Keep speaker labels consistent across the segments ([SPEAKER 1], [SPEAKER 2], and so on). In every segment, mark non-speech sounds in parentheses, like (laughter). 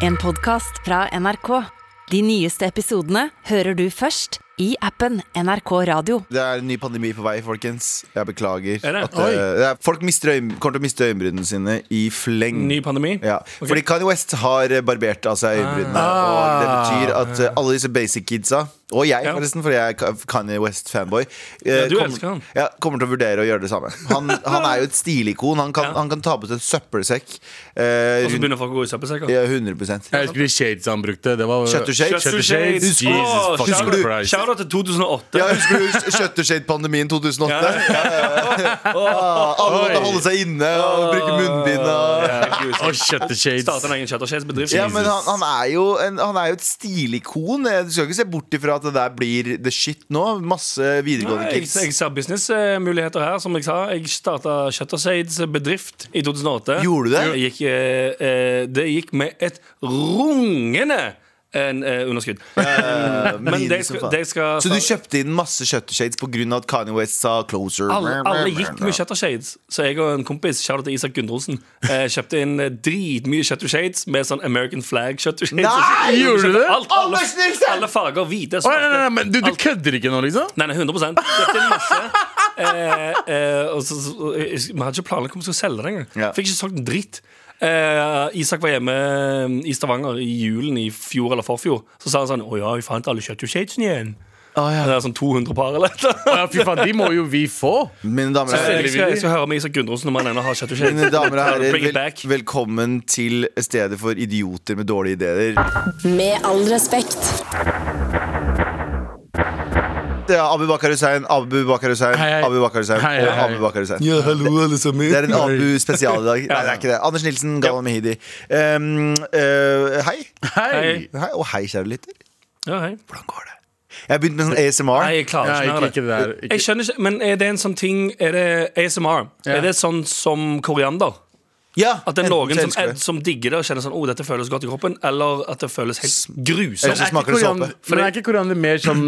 [SPEAKER 1] En podcast fra NRK. De nyeste episodene hører du først i appen NRK Radio.
[SPEAKER 2] Det er en ny pandemi på vei, folkens. Jeg beklager.
[SPEAKER 3] Er det?
[SPEAKER 2] At, eh,
[SPEAKER 3] Oi.
[SPEAKER 2] det er, folk mister øyn, kommer til å miste øyenbrynene sine i fleng.
[SPEAKER 3] Ny pandemi?
[SPEAKER 2] ja. Fordi Kanye West har eh, barbert av seg øyenbrynene.
[SPEAKER 3] Ah.
[SPEAKER 2] Og det betyr at eh, alle disse basic kidsa, og jeg
[SPEAKER 3] Ja.
[SPEAKER 2] forresten, fordi jeg er Ka- Kanye West-fanboy, eh,
[SPEAKER 3] Ja, du elsker
[SPEAKER 2] kommer,
[SPEAKER 3] han.
[SPEAKER 2] ja, kommer til å vurdere å gjøre det samme. Han, han er jo et stilikon. Han kan,
[SPEAKER 3] Ja.
[SPEAKER 2] han kan ta på seg et søppelsekk. eh,
[SPEAKER 3] Og så
[SPEAKER 2] rundt,
[SPEAKER 3] begynner folk å gå i søppelsekker.
[SPEAKER 2] ja, 100
[SPEAKER 4] Jeg husker de shades han brukte. Det var
[SPEAKER 2] Shutter shades.
[SPEAKER 4] Shutter shades.
[SPEAKER 3] Husker-
[SPEAKER 4] Jesus
[SPEAKER 3] Åh,
[SPEAKER 4] fucking
[SPEAKER 3] shout-
[SPEAKER 4] Christ.
[SPEAKER 3] shout out til 2008.
[SPEAKER 2] ja, Husker du Shuttershade-pandemien 2008? Ah, (laughs) alle måtte
[SPEAKER 4] Oi.
[SPEAKER 2] holde seg inne og bruke munnbind. Og...
[SPEAKER 4] Og shutter shades.
[SPEAKER 3] Starte en egen Shutter Shades-bedrift.
[SPEAKER 2] Ja, men han, han, er jo en, han er jo et stilikon. Eh, Du skal ikke se bort ifra at det der blir the shit nå. Masse videregående
[SPEAKER 3] Nei, jeg,
[SPEAKER 2] kids.
[SPEAKER 3] jeg ser businessmuligheter her. Som jeg sa, jeg starta Shuttershades bedrift i 2008.
[SPEAKER 2] Gjorde du det?
[SPEAKER 3] Jeg gikk, eh, eh, det gikk med et rungende en, eh,
[SPEAKER 2] (laughs)
[SPEAKER 3] underskudd.
[SPEAKER 2] Eh,
[SPEAKER 3] Men
[SPEAKER 2] minus
[SPEAKER 3] det jeg
[SPEAKER 2] som
[SPEAKER 3] skal,
[SPEAKER 2] faen.
[SPEAKER 3] det jeg skal
[SPEAKER 2] Så du kjøpte inn masse shuttershades pga. at Kanye West sa 'closer'?
[SPEAKER 3] alle, alle gikk med Shutter Shades, så jeg og en kompis shout out til Isak Gundrosen eh, kjøpte inn eh, dritmye Shutter Shades med sånn American flag Shutter Shades.
[SPEAKER 2] Nei,
[SPEAKER 4] gjorde du det?
[SPEAKER 3] Alt, alle,
[SPEAKER 2] Anders Nilsen!
[SPEAKER 3] alle farger. Hvite,
[SPEAKER 4] Oi, nei, nei,
[SPEAKER 3] svarte.
[SPEAKER 4] nei, men du, du kødder ikke nå, liksom?
[SPEAKER 3] Nei, nei, 100 Kjøpte inn masse. Eh, eh, og så, så, og jeg- vi hadde ikke planlagt om vi skulle selge det engang.
[SPEAKER 2] Ja.
[SPEAKER 3] Fikk ikke solgt en dritt. Eh, Isak var hjemme eh, i Stavanger i julen i fjor eller forfjor. Så sa han sånn Å ja, jeg fant alle Shutter Shadesene igjen. Det er sånn 200 par eller noe.
[SPEAKER 4] Ja, fy faen, De må jo vi få.
[SPEAKER 2] Mine damer og herrer,
[SPEAKER 3] Jeg Eh, skal, jeg skal høre med Isak Gundrosen om han ennå har Shutter Shades.
[SPEAKER 2] mine damer og herrer
[SPEAKER 3] (laughs) Bring it
[SPEAKER 2] vel,
[SPEAKER 3] back.
[SPEAKER 2] velkommen til stedet for idioter med dårlige ideer.
[SPEAKER 1] Med all respekt.
[SPEAKER 2] Det er Abu Bakar Hussein, Abu Bakar Hussein,
[SPEAKER 4] Hei, hei.
[SPEAKER 2] Abu Bakar Hussein
[SPEAKER 4] Hei, hei,
[SPEAKER 2] og
[SPEAKER 4] hei.
[SPEAKER 2] Abu Bakar Hussein.
[SPEAKER 5] Ja, hallo alle sammen.
[SPEAKER 2] Det er en Abu-spesial i dag. Nei, det er ikke det. Anders Nilsen, Galvan Mehidi. Um, eh, hei.
[SPEAKER 4] Hei!
[SPEAKER 3] Hei.
[SPEAKER 2] hei. Og hei, kjære lytter.
[SPEAKER 3] Ja, hei.
[SPEAKER 2] Hvordan går det? Jeg har begynt med sånn ASMR.
[SPEAKER 3] Nei, jeg klarer
[SPEAKER 4] Nei,
[SPEAKER 3] ikke mer
[SPEAKER 4] ikke,
[SPEAKER 3] av
[SPEAKER 4] ikke
[SPEAKER 3] det.
[SPEAKER 4] det der.
[SPEAKER 3] Jeg
[SPEAKER 4] Ikke.
[SPEAKER 3] skjønner ikke, men er det en sånn ting Er det ASMR?
[SPEAKER 4] Ja.
[SPEAKER 3] Er det sånn som koriander?
[SPEAKER 2] Ja,
[SPEAKER 3] At det er
[SPEAKER 2] enten
[SPEAKER 3] noen
[SPEAKER 2] så
[SPEAKER 3] som,
[SPEAKER 2] elsker du det.
[SPEAKER 3] som digger det og kjenner sånn Å, dette føles godt i kroppen, eller at det føles helt
[SPEAKER 2] Eller
[SPEAKER 3] grusomt.
[SPEAKER 2] så smaker det såpe.
[SPEAKER 4] Men er ikke koriander mer sånn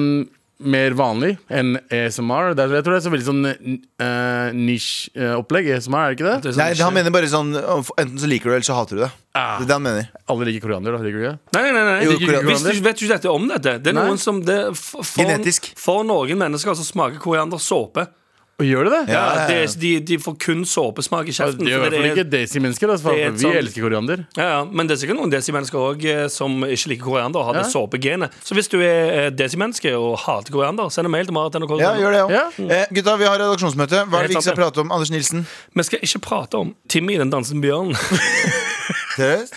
[SPEAKER 4] mer vanlig enn ASMR? Det er, jeg tror det er så veldig sånn eh, nisje-opplegg. ASMR, er det ikke det?
[SPEAKER 3] Det er sånn-
[SPEAKER 2] Nei, han mener bare sånn Enten så liker du det, eller så hater du det.
[SPEAKER 4] Ah.
[SPEAKER 2] Det er det han mener.
[SPEAKER 4] Alle liker koriander, da. Liker du ikke?
[SPEAKER 3] Nei, nei, nei, nei.
[SPEAKER 2] Jo,
[SPEAKER 3] Hvis
[SPEAKER 2] koriander.
[SPEAKER 3] du ikke- vet du ikke dette om dette. Det er
[SPEAKER 4] Nei.
[SPEAKER 3] noen som det, f- for,
[SPEAKER 2] Genetisk.
[SPEAKER 3] For noen mennesker så smaker koriander såpe.
[SPEAKER 4] Og gjør det det?
[SPEAKER 2] Ja, ja, ja.
[SPEAKER 3] Det er, de, de får kun såpesmak i kjeften.
[SPEAKER 4] Det gjør
[SPEAKER 3] fordi
[SPEAKER 4] i hvert fall
[SPEAKER 3] det er-
[SPEAKER 4] ikke desi-mennesker. Altså,
[SPEAKER 3] det er et
[SPEAKER 4] for vi
[SPEAKER 3] sånt-
[SPEAKER 4] elsker koriander.
[SPEAKER 3] Ja, ja, Men det er sikkert noen desimennesker også, eh, som ikke liker koriander og har det
[SPEAKER 4] Ja.
[SPEAKER 3] såpegenet. Så hvis du er eh, desimenneske og hater koriander, send en mail til Marit.
[SPEAKER 2] Ja, gjør det òg.
[SPEAKER 4] Ja.
[SPEAKER 2] Eh, gutta, vi har redaksjonsmøte. Hva er det vi
[SPEAKER 3] Helt
[SPEAKER 2] ikke skal
[SPEAKER 3] sant,
[SPEAKER 2] prate om? Anders Nilsen?
[SPEAKER 3] Vi skal ikke prate om Timmy i den dansen
[SPEAKER 4] (laughs)
[SPEAKER 3] bjørnen.
[SPEAKER 2] Seriøst?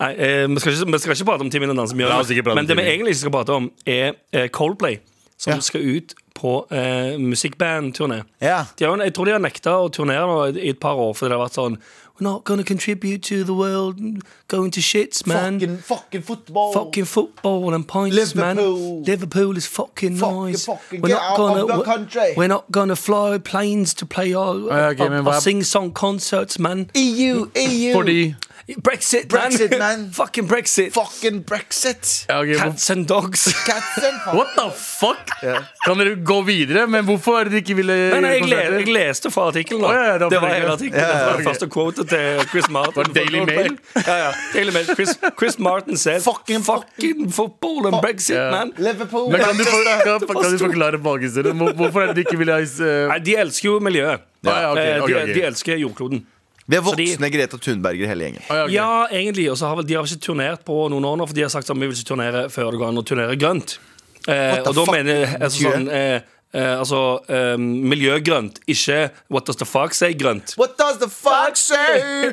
[SPEAKER 3] Nei, eh, vi, skal ikke, vi skal ikke prate om Timmy i den dansen
[SPEAKER 4] La oss ikke prate
[SPEAKER 3] bjørnen.
[SPEAKER 4] om
[SPEAKER 3] Men det vi
[SPEAKER 4] Timmy.
[SPEAKER 3] egentlig ikke skal prate om, er eh, Coldplay, som
[SPEAKER 2] Ja.
[SPEAKER 3] skal ut på eh, musikkbandturné.
[SPEAKER 2] Ja.
[SPEAKER 3] De har, jo- jeg tror de har nekta å turnere nå i- i et par år, fordi det har vært sånn We're not gonna contribute to the world, going to shits, man.
[SPEAKER 2] Fucking, fucking football.
[SPEAKER 3] Fucking football and points,
[SPEAKER 2] Liverpool.
[SPEAKER 3] man. Liverpool is fucking
[SPEAKER 2] Fucking,
[SPEAKER 3] nice.
[SPEAKER 2] fucking get out of the country.
[SPEAKER 3] we're not gonna fly planes to play our,
[SPEAKER 4] ja, ok,
[SPEAKER 3] our-
[SPEAKER 4] men
[SPEAKER 3] our
[SPEAKER 4] hva-
[SPEAKER 3] sing-song concerts, man.
[SPEAKER 2] EU, EU.
[SPEAKER 4] Fordi
[SPEAKER 3] Brexit,
[SPEAKER 2] Brexit,
[SPEAKER 3] man. (laughs)
[SPEAKER 2] man.
[SPEAKER 3] fucking Brexit.
[SPEAKER 2] Fucking brexit.
[SPEAKER 4] ja, ok, hvor-
[SPEAKER 3] Cats and dogs.
[SPEAKER 4] (laughs)
[SPEAKER 2] Cats and fuck.
[SPEAKER 4] What the fuck? Kan dere gå videre? Men hvorfor er det dere ikke ville
[SPEAKER 3] Nei, nei, jeg, le,
[SPEAKER 4] konserter?
[SPEAKER 3] jeg leste fra artikkelen. da.
[SPEAKER 4] Å, ja, ja, det var
[SPEAKER 3] det var
[SPEAKER 4] fra
[SPEAKER 3] hele
[SPEAKER 4] artikkelen.
[SPEAKER 3] artikkelen. Det var det første quotet til Chris Martin.
[SPEAKER 4] Var det
[SPEAKER 3] fra
[SPEAKER 4] Daily
[SPEAKER 3] Coldplay.
[SPEAKER 4] Mail?
[SPEAKER 3] Ja, ja. Daily Mail. Chris, Chris Martin said
[SPEAKER 2] Fucking-
[SPEAKER 3] fucking, football and Brexit,
[SPEAKER 4] Ja.
[SPEAKER 3] man.
[SPEAKER 2] Liverpool.
[SPEAKER 4] Men kan du, for,
[SPEAKER 2] Manchester.
[SPEAKER 4] kan, kan du forklare bakhistorien? Hvor- Hvorfor er det de ikke ville ha eh,
[SPEAKER 3] Nei, de elsker jo miljøet.
[SPEAKER 4] Ja, ja, ok,
[SPEAKER 3] Eh,
[SPEAKER 4] ok,
[SPEAKER 3] de,
[SPEAKER 4] ok.
[SPEAKER 3] de elsker jordkloden.
[SPEAKER 2] Vi er
[SPEAKER 3] Så de-
[SPEAKER 2] voksne Greta Thunberger, hele gjengen.
[SPEAKER 4] ah, ok.
[SPEAKER 3] Ja, egentlig. Og så har vel, de har ikke turnert på noen år nå, for de har sagt sånn, vi vil ikke turnere før det går an å turnere grønt. Eh,
[SPEAKER 2] What the
[SPEAKER 3] og da
[SPEAKER 2] fuck
[SPEAKER 3] mener jeg altså,
[SPEAKER 2] betyr
[SPEAKER 3] sånn eh, eh, Altså eh, miljøgrønt, ikke what does the fuck say grønt.
[SPEAKER 2] What does the fuck say?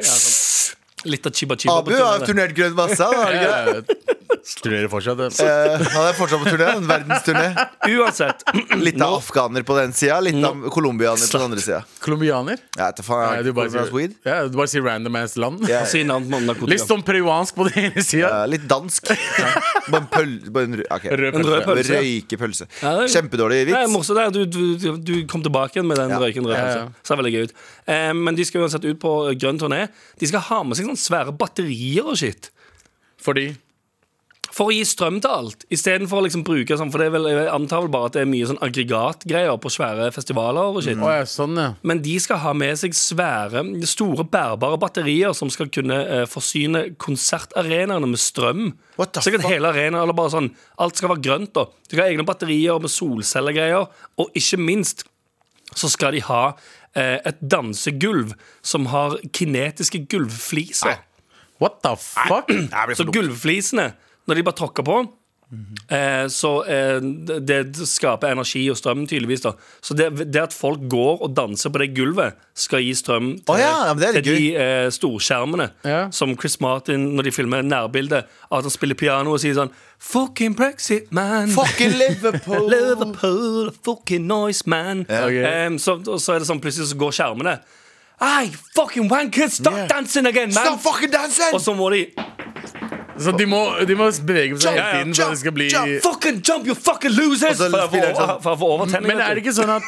[SPEAKER 3] Litt av chiba chiba.
[SPEAKER 2] Abu har turnert grønn masse. Han har ikke det?
[SPEAKER 4] Eh, Studerer fortsatt. det.
[SPEAKER 2] Eh, han er fortsatt på turné. En verdensturné. (laughs)
[SPEAKER 3] Uansett.
[SPEAKER 2] Litt av afghaner på den sida, litt av colombianer på den andre sida.
[SPEAKER 4] Colombianer?
[SPEAKER 2] Jeg vet da faen.
[SPEAKER 4] Nei,
[SPEAKER 2] Jeg
[SPEAKER 4] du
[SPEAKER 2] er
[SPEAKER 4] bare
[SPEAKER 2] ikke
[SPEAKER 4] sier,
[SPEAKER 2] colombiansk weed.
[SPEAKER 4] ja, du bare sier random ass land.
[SPEAKER 2] Ja,
[SPEAKER 3] Si navn på
[SPEAKER 4] Litt
[SPEAKER 3] narkotika.
[SPEAKER 4] sånn peruansk på den ene sida.
[SPEAKER 2] ja, eh, litt dansk. Bare en pøl... Bare en rød, okay.
[SPEAKER 4] Rød
[SPEAKER 3] En rød
[SPEAKER 4] pølse.
[SPEAKER 3] pølse.
[SPEAKER 2] Røykepølse.
[SPEAKER 3] Ja, det er-
[SPEAKER 2] Kjempedårlig
[SPEAKER 3] Nei,
[SPEAKER 2] vits.
[SPEAKER 3] morsomt, det er- du, du, du kom tilbake igjen med den
[SPEAKER 2] Ja.
[SPEAKER 3] røyken rød
[SPEAKER 4] Ja, ja.
[SPEAKER 3] pølse. Så det er veldig gøy ut. Eh, men de skal uansett ut på eh, grønn turné. De skal ha med seg sånne svære batterier og skitt.
[SPEAKER 4] Fordi
[SPEAKER 3] for å gi strøm til alt. Istedenfor å liksom bruke sånn, for det er vel, jeg antar vel bare at det er mye sånn aggregatgreier på svære festivaler og
[SPEAKER 2] Mm.
[SPEAKER 3] shit.
[SPEAKER 4] Å ja, sånn, ja.
[SPEAKER 3] Men de skal ha med seg svære, store bærbare batterier som skal kunne eh, forsyne konsertarenaene med strøm.
[SPEAKER 2] What the
[SPEAKER 3] Så kan
[SPEAKER 2] fuck?
[SPEAKER 3] hele arenaen, eller bare sånn, alt skal være grønt. da De skal ha egne batterier med solcellegreier. Og ikke minst så skal de ha eh, et dansegulv som har kinetiske gulvfliser.
[SPEAKER 4] What the
[SPEAKER 3] (clears throat)
[SPEAKER 4] fuck?
[SPEAKER 3] Så gulvflisene, når de bare tråkker på eh, Så eh, det, det skaper energi og strøm tydeligvis da Så det, det at folk går og danser på det gulvet Skal gi strøm til,
[SPEAKER 2] Å ja, ja, men det er litt
[SPEAKER 3] til de eh, storskjermene
[SPEAKER 4] Ja.
[SPEAKER 3] Som Chris Martin når de filmer nærbildet At han spiller piano og sier sånn Fucking Brexit man
[SPEAKER 2] Fucking Liverpool!
[SPEAKER 3] Liverpool, fucking noise man
[SPEAKER 4] ok.
[SPEAKER 3] Em, så, Og så er det sånn plutselig så går skjermene Ei, fucking wankers, stop
[SPEAKER 2] Yeah.
[SPEAKER 3] dancing again man
[SPEAKER 2] Stop fucking dancing!
[SPEAKER 3] Og så må de
[SPEAKER 4] Så de må, de må bevege seg
[SPEAKER 3] Ja,
[SPEAKER 4] hele
[SPEAKER 3] ja,
[SPEAKER 4] tiden for at det skal bli
[SPEAKER 2] jump,
[SPEAKER 3] Fucking jump, you fucking losers!
[SPEAKER 2] Og så
[SPEAKER 3] For jeg
[SPEAKER 2] spiller
[SPEAKER 3] får
[SPEAKER 2] jeg sånn.
[SPEAKER 3] over- for jeg får overtenning.
[SPEAKER 4] Men er det ikke sånn
[SPEAKER 2] (laughs)
[SPEAKER 4] at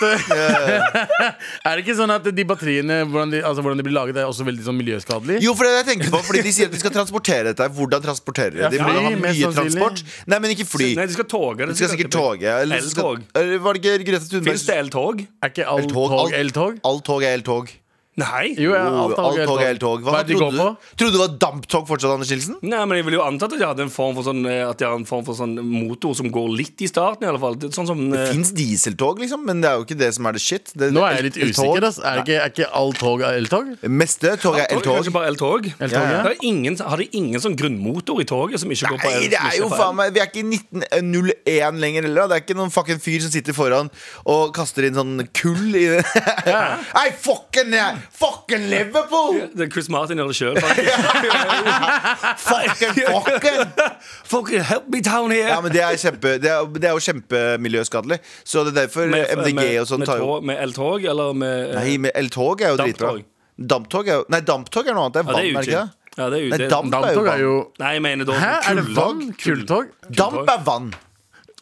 [SPEAKER 4] (laughs) Er det ikke sånn at de batteriene, hvordan de, altså hvordan de blir laget, er også veldig sånn miljøskadelig?
[SPEAKER 2] Jo, for det er det jeg tenker på Fordi de sier at de skal transportere dette. Hvordan transporterer de? De
[SPEAKER 4] Ja,
[SPEAKER 2] må jo ha
[SPEAKER 4] fly, mest
[SPEAKER 2] mye
[SPEAKER 4] sannsynlig.
[SPEAKER 2] transport. Nei, men ikke fly.
[SPEAKER 3] Nei, de skal toge.
[SPEAKER 2] De skal sikkert toge. Eller så skal-
[SPEAKER 3] Eltog.
[SPEAKER 2] eller Var det ikke Grete
[SPEAKER 3] Fins det
[SPEAKER 2] Thunberg
[SPEAKER 3] eltog?
[SPEAKER 4] Er ikke alt
[SPEAKER 2] Eltog,
[SPEAKER 4] tog
[SPEAKER 2] alt-
[SPEAKER 4] eltog?
[SPEAKER 2] Alt tog er eltog.
[SPEAKER 3] Nei.
[SPEAKER 4] Jo, ja,
[SPEAKER 2] Oh,
[SPEAKER 4] alt tog
[SPEAKER 2] Alt
[SPEAKER 4] er
[SPEAKER 2] tog er
[SPEAKER 4] eltog.
[SPEAKER 2] eltog.
[SPEAKER 4] Hva
[SPEAKER 2] Hva
[SPEAKER 4] er det de går
[SPEAKER 2] trodde
[SPEAKER 4] på?
[SPEAKER 2] du? Trodde du det var damptog fortsatt, Anders Nilsen?
[SPEAKER 3] Nei, men Jeg ville jo antatt at de hadde en form for sånn eh, At de har en form for sånn motor som går litt i starten. i alle fall Det- Sånn som eh,
[SPEAKER 2] Det fins dieseltog, liksom, men det er jo ikke det som er det shit. Det,
[SPEAKER 4] Nå er jeg litt
[SPEAKER 2] eltog.
[SPEAKER 4] usikker. Ass. Er, ikke, er ikke alt tog er eltog?
[SPEAKER 2] Meste tog er
[SPEAKER 3] tog,
[SPEAKER 2] eltog.
[SPEAKER 3] Kanskje bare eltog?
[SPEAKER 4] Eltog, ja.
[SPEAKER 3] Det er ingen, har de ingen sånn grunnmotor i toget som ikke går på el?
[SPEAKER 2] Nei, det
[SPEAKER 3] som
[SPEAKER 2] er
[SPEAKER 3] ikke
[SPEAKER 2] jo
[SPEAKER 3] på el?
[SPEAKER 2] faen meg Vi er ikke i 1901 lenger heller. da. Det er ikke noen fucking fyr som sitter foran og kaster inn sånn kull i det. (laughs) Nei, fucking, fucking Liverpool!
[SPEAKER 3] Det er Chris Martin gjør det sjøl,
[SPEAKER 2] (laughs)
[SPEAKER 3] faktisk.
[SPEAKER 2] Fucking, fucking
[SPEAKER 3] (laughs) Fucking help me down here!
[SPEAKER 2] Ja, men det er, kjempe, det er, det er jo kjempemiljøskadelig. Så det er derfor MDG og sånn
[SPEAKER 3] med
[SPEAKER 2] tar jo
[SPEAKER 3] tog- med eltog, eller med eh,
[SPEAKER 2] Nei, men eltog er jo dritbra.
[SPEAKER 3] Damptog.
[SPEAKER 2] Damptog er jo Nei, damptog er noe annet. Det er
[SPEAKER 3] Ja,
[SPEAKER 2] vann, er det
[SPEAKER 3] det er
[SPEAKER 2] ikke
[SPEAKER 3] utgitt.
[SPEAKER 2] det?
[SPEAKER 3] Ja, det er
[SPEAKER 2] Nei,
[SPEAKER 3] utgitt.
[SPEAKER 2] damp er jo
[SPEAKER 4] Damptog er jo
[SPEAKER 3] Nei, jeg mener da sånn
[SPEAKER 4] Hæ, er det vann?
[SPEAKER 3] kulltog.
[SPEAKER 4] Kulltog?
[SPEAKER 2] Damp er vann.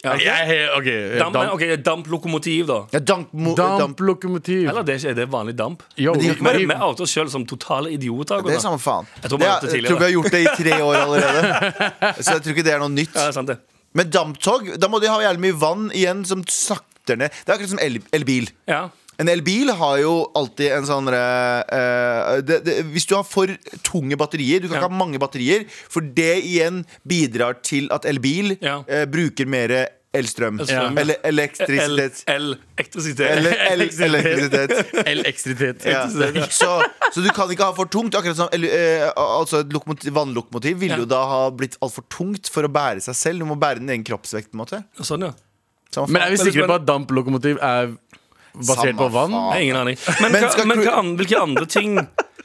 [SPEAKER 3] Ja, ok.
[SPEAKER 4] Jeg er helt- OK.
[SPEAKER 3] Damp,
[SPEAKER 4] Eh, damp-
[SPEAKER 3] ok, damplokomotiv, da.
[SPEAKER 2] Ja, damp, mo, damp.
[SPEAKER 4] Damplokomotiv.
[SPEAKER 3] Eller det er ikke er det vanlig damp?
[SPEAKER 4] Yo,
[SPEAKER 2] Men de-
[SPEAKER 4] vi-
[SPEAKER 3] Men Vi outer oss sjøl som totale idioter.
[SPEAKER 2] Det er
[SPEAKER 3] Gunnar.
[SPEAKER 2] samme faen.
[SPEAKER 3] Jeg tror man
[SPEAKER 2] det,
[SPEAKER 3] har gjort det
[SPEAKER 2] jeg tror vi har gjort det i tre
[SPEAKER 3] (laughs)
[SPEAKER 2] år allerede. Så jeg tror ikke det er noe nytt.
[SPEAKER 3] Ja, det er sant, det.
[SPEAKER 2] Men damptog, da må de ha jævlig mye vann igjen som sakter ned. Det er akkurat som el elbil.
[SPEAKER 3] Ja.
[SPEAKER 2] En elbil har jo alltid en sånn eh, eh, det, det, Hvis du har for tunge batterier Du kan
[SPEAKER 3] Ja.
[SPEAKER 2] ikke ha mange batterier, for det igjen bidrar til at elbil
[SPEAKER 3] Ja.
[SPEAKER 2] eh, bruker mer elstrøm.
[SPEAKER 3] Elstrøm, ja.
[SPEAKER 2] Eller elektrisitet.
[SPEAKER 3] El-elektrisitet. (laughs)
[SPEAKER 2] Eller el elektrisitet.
[SPEAKER 4] Elektrisitet.
[SPEAKER 2] Ja. Så, så du kan ikke ha for tungt. Akkurat som eller, eh, altså Et lokomotiv, vannlokomotiv ville
[SPEAKER 3] Ja.
[SPEAKER 2] jo da ha blitt altfor tungt for å bære seg selv. Du må bære din egen kroppsvekt. på en måte
[SPEAKER 3] Sånn, ja.
[SPEAKER 2] Samme
[SPEAKER 4] Men er vi
[SPEAKER 2] faen.
[SPEAKER 3] Men-
[SPEAKER 4] sikre på at damplokomotiv er basert
[SPEAKER 2] Samme
[SPEAKER 4] på vann?
[SPEAKER 2] faen.
[SPEAKER 3] Nei, ingen aning. Men,
[SPEAKER 2] Men
[SPEAKER 3] hva,
[SPEAKER 2] skal
[SPEAKER 3] men
[SPEAKER 2] crew-
[SPEAKER 3] hva an, hvilke andre
[SPEAKER 2] (laughs)
[SPEAKER 3] ting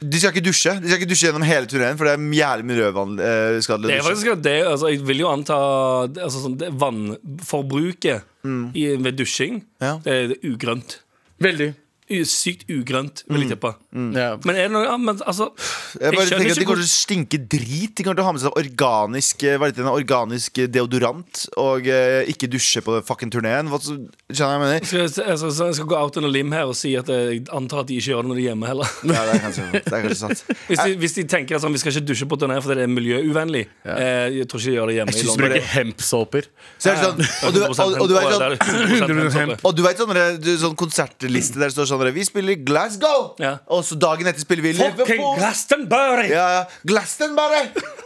[SPEAKER 2] De skal ikke dusje De skal ikke dusje gjennom hele turneen, for det er jævlig eh, miljøskadelig.
[SPEAKER 3] Det
[SPEAKER 2] å
[SPEAKER 3] er
[SPEAKER 2] dusje.
[SPEAKER 3] faktisk at det altså, Jeg vil jo anta altså, sånn, det vannforbruket i, ved dusjing.
[SPEAKER 2] Mm. Ja.
[SPEAKER 3] Det, er- det er ugrønt.
[SPEAKER 4] Veldig.
[SPEAKER 3] U- Sykt ugrønt, vil jeg tippe.
[SPEAKER 4] Ja.
[SPEAKER 3] Men er det noe ja, men, altså,
[SPEAKER 2] Mm. Jeg bare
[SPEAKER 3] skjønner
[SPEAKER 2] tenker at De
[SPEAKER 3] ikke hvor-
[SPEAKER 2] kommer til å stinke drit. De kommer til å ha med seg organisk eh, hva heter det, en organisk deodorant og eh, ikke dusje på fucking turneen. Hva så- Skjønner du hva jeg mener?
[SPEAKER 3] Skal jeg, altså, så jeg skal gå out on a lim her og si at eh, jeg antar at de ikke gjør det når de er hjemme heller. (laughs)
[SPEAKER 2] Ja, det er kanskje, det er kanskje sant.
[SPEAKER 3] Hvis de, hvis de tenker at sånn, vi skal ikke dusje på turné fordi det er miljøuvennlig, eh, jeg tror ikke de gjør det hjemme i
[SPEAKER 4] Synes
[SPEAKER 3] London.
[SPEAKER 4] bruker hempsåper.
[SPEAKER 2] Så er det sånn, og du, og, og du vet sånn (clears throat) Og du vet sånn, du- sånn konsertliste der det står sånn Vi spiller Glasgow!
[SPEAKER 3] Ja.
[SPEAKER 2] Og så dagen etter spiller vi
[SPEAKER 3] Fucking
[SPEAKER 2] Liverpool.
[SPEAKER 3] Glastonbury!
[SPEAKER 2] Ja, ja. Glastonbury!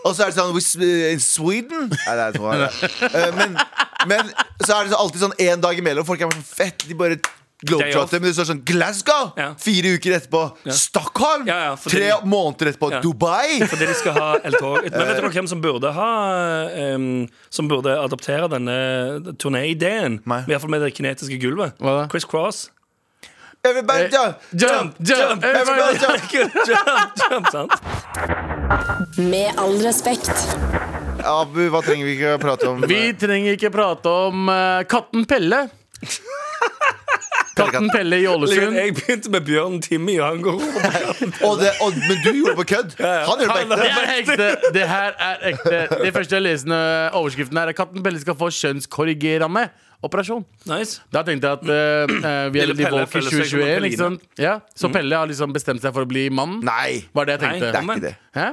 [SPEAKER 2] Og så er det sånn we, s- In Sweden? Nei, det er to her, da. Eh, Men, men så er det så alltid sånn én dag imellom. Folk er bare sånn fett. De bare globetrotter. Men det står sånn Glasgow!
[SPEAKER 3] Ja.
[SPEAKER 2] Fire uker etterpå. Stockholm!
[SPEAKER 3] Ja, ja, for
[SPEAKER 2] Tre
[SPEAKER 3] det-
[SPEAKER 2] måneder etterpå.
[SPEAKER 3] Ja.
[SPEAKER 2] Dubai!
[SPEAKER 3] Fordi de skal ha eltog. Men vet dere hvem som burde ha em, Som burde adoptere denne turnéideen?
[SPEAKER 2] Nei.
[SPEAKER 3] I hvert fall med det kinetiske gulvet.
[SPEAKER 4] Hva da?
[SPEAKER 3] Chris Cross. Eh,
[SPEAKER 2] Everybody jump!
[SPEAKER 4] Jump, jump,
[SPEAKER 2] everybody
[SPEAKER 3] (laughs)
[SPEAKER 2] jump!
[SPEAKER 3] jump, jump, sant?
[SPEAKER 5] Med all respekt.
[SPEAKER 2] Abu, hva trenger vi ikke å prate om?
[SPEAKER 4] Vi trenger ikke prate om eh, katten Pelle. Katten Pelle i Ålesund.
[SPEAKER 3] Jeg begynte med Bjørn Timmy, og han går over.
[SPEAKER 2] og det, og, men du gjorde det på kødd. Han gjorde det på
[SPEAKER 4] Det
[SPEAKER 2] ekte.
[SPEAKER 4] er ekte. Det her er ekte. Det første jeg leser når overskriften her, er katten Pelle skal få kjønnskorrigerende operasjon.
[SPEAKER 3] Nice.
[SPEAKER 4] Da tenkte jeg at eh, eh, vi er
[SPEAKER 3] Lille
[SPEAKER 4] litt i
[SPEAKER 3] Pelle
[SPEAKER 4] Walk i
[SPEAKER 3] føler seg som en
[SPEAKER 4] 2021,
[SPEAKER 3] Pelline.
[SPEAKER 4] ikke sant? Ja. Så Pelle har liksom bestemt seg for å bli mann?
[SPEAKER 2] Nei,
[SPEAKER 4] Var det jeg
[SPEAKER 3] Nei,
[SPEAKER 4] tenkte.
[SPEAKER 2] det er ikke det.
[SPEAKER 4] Hæ?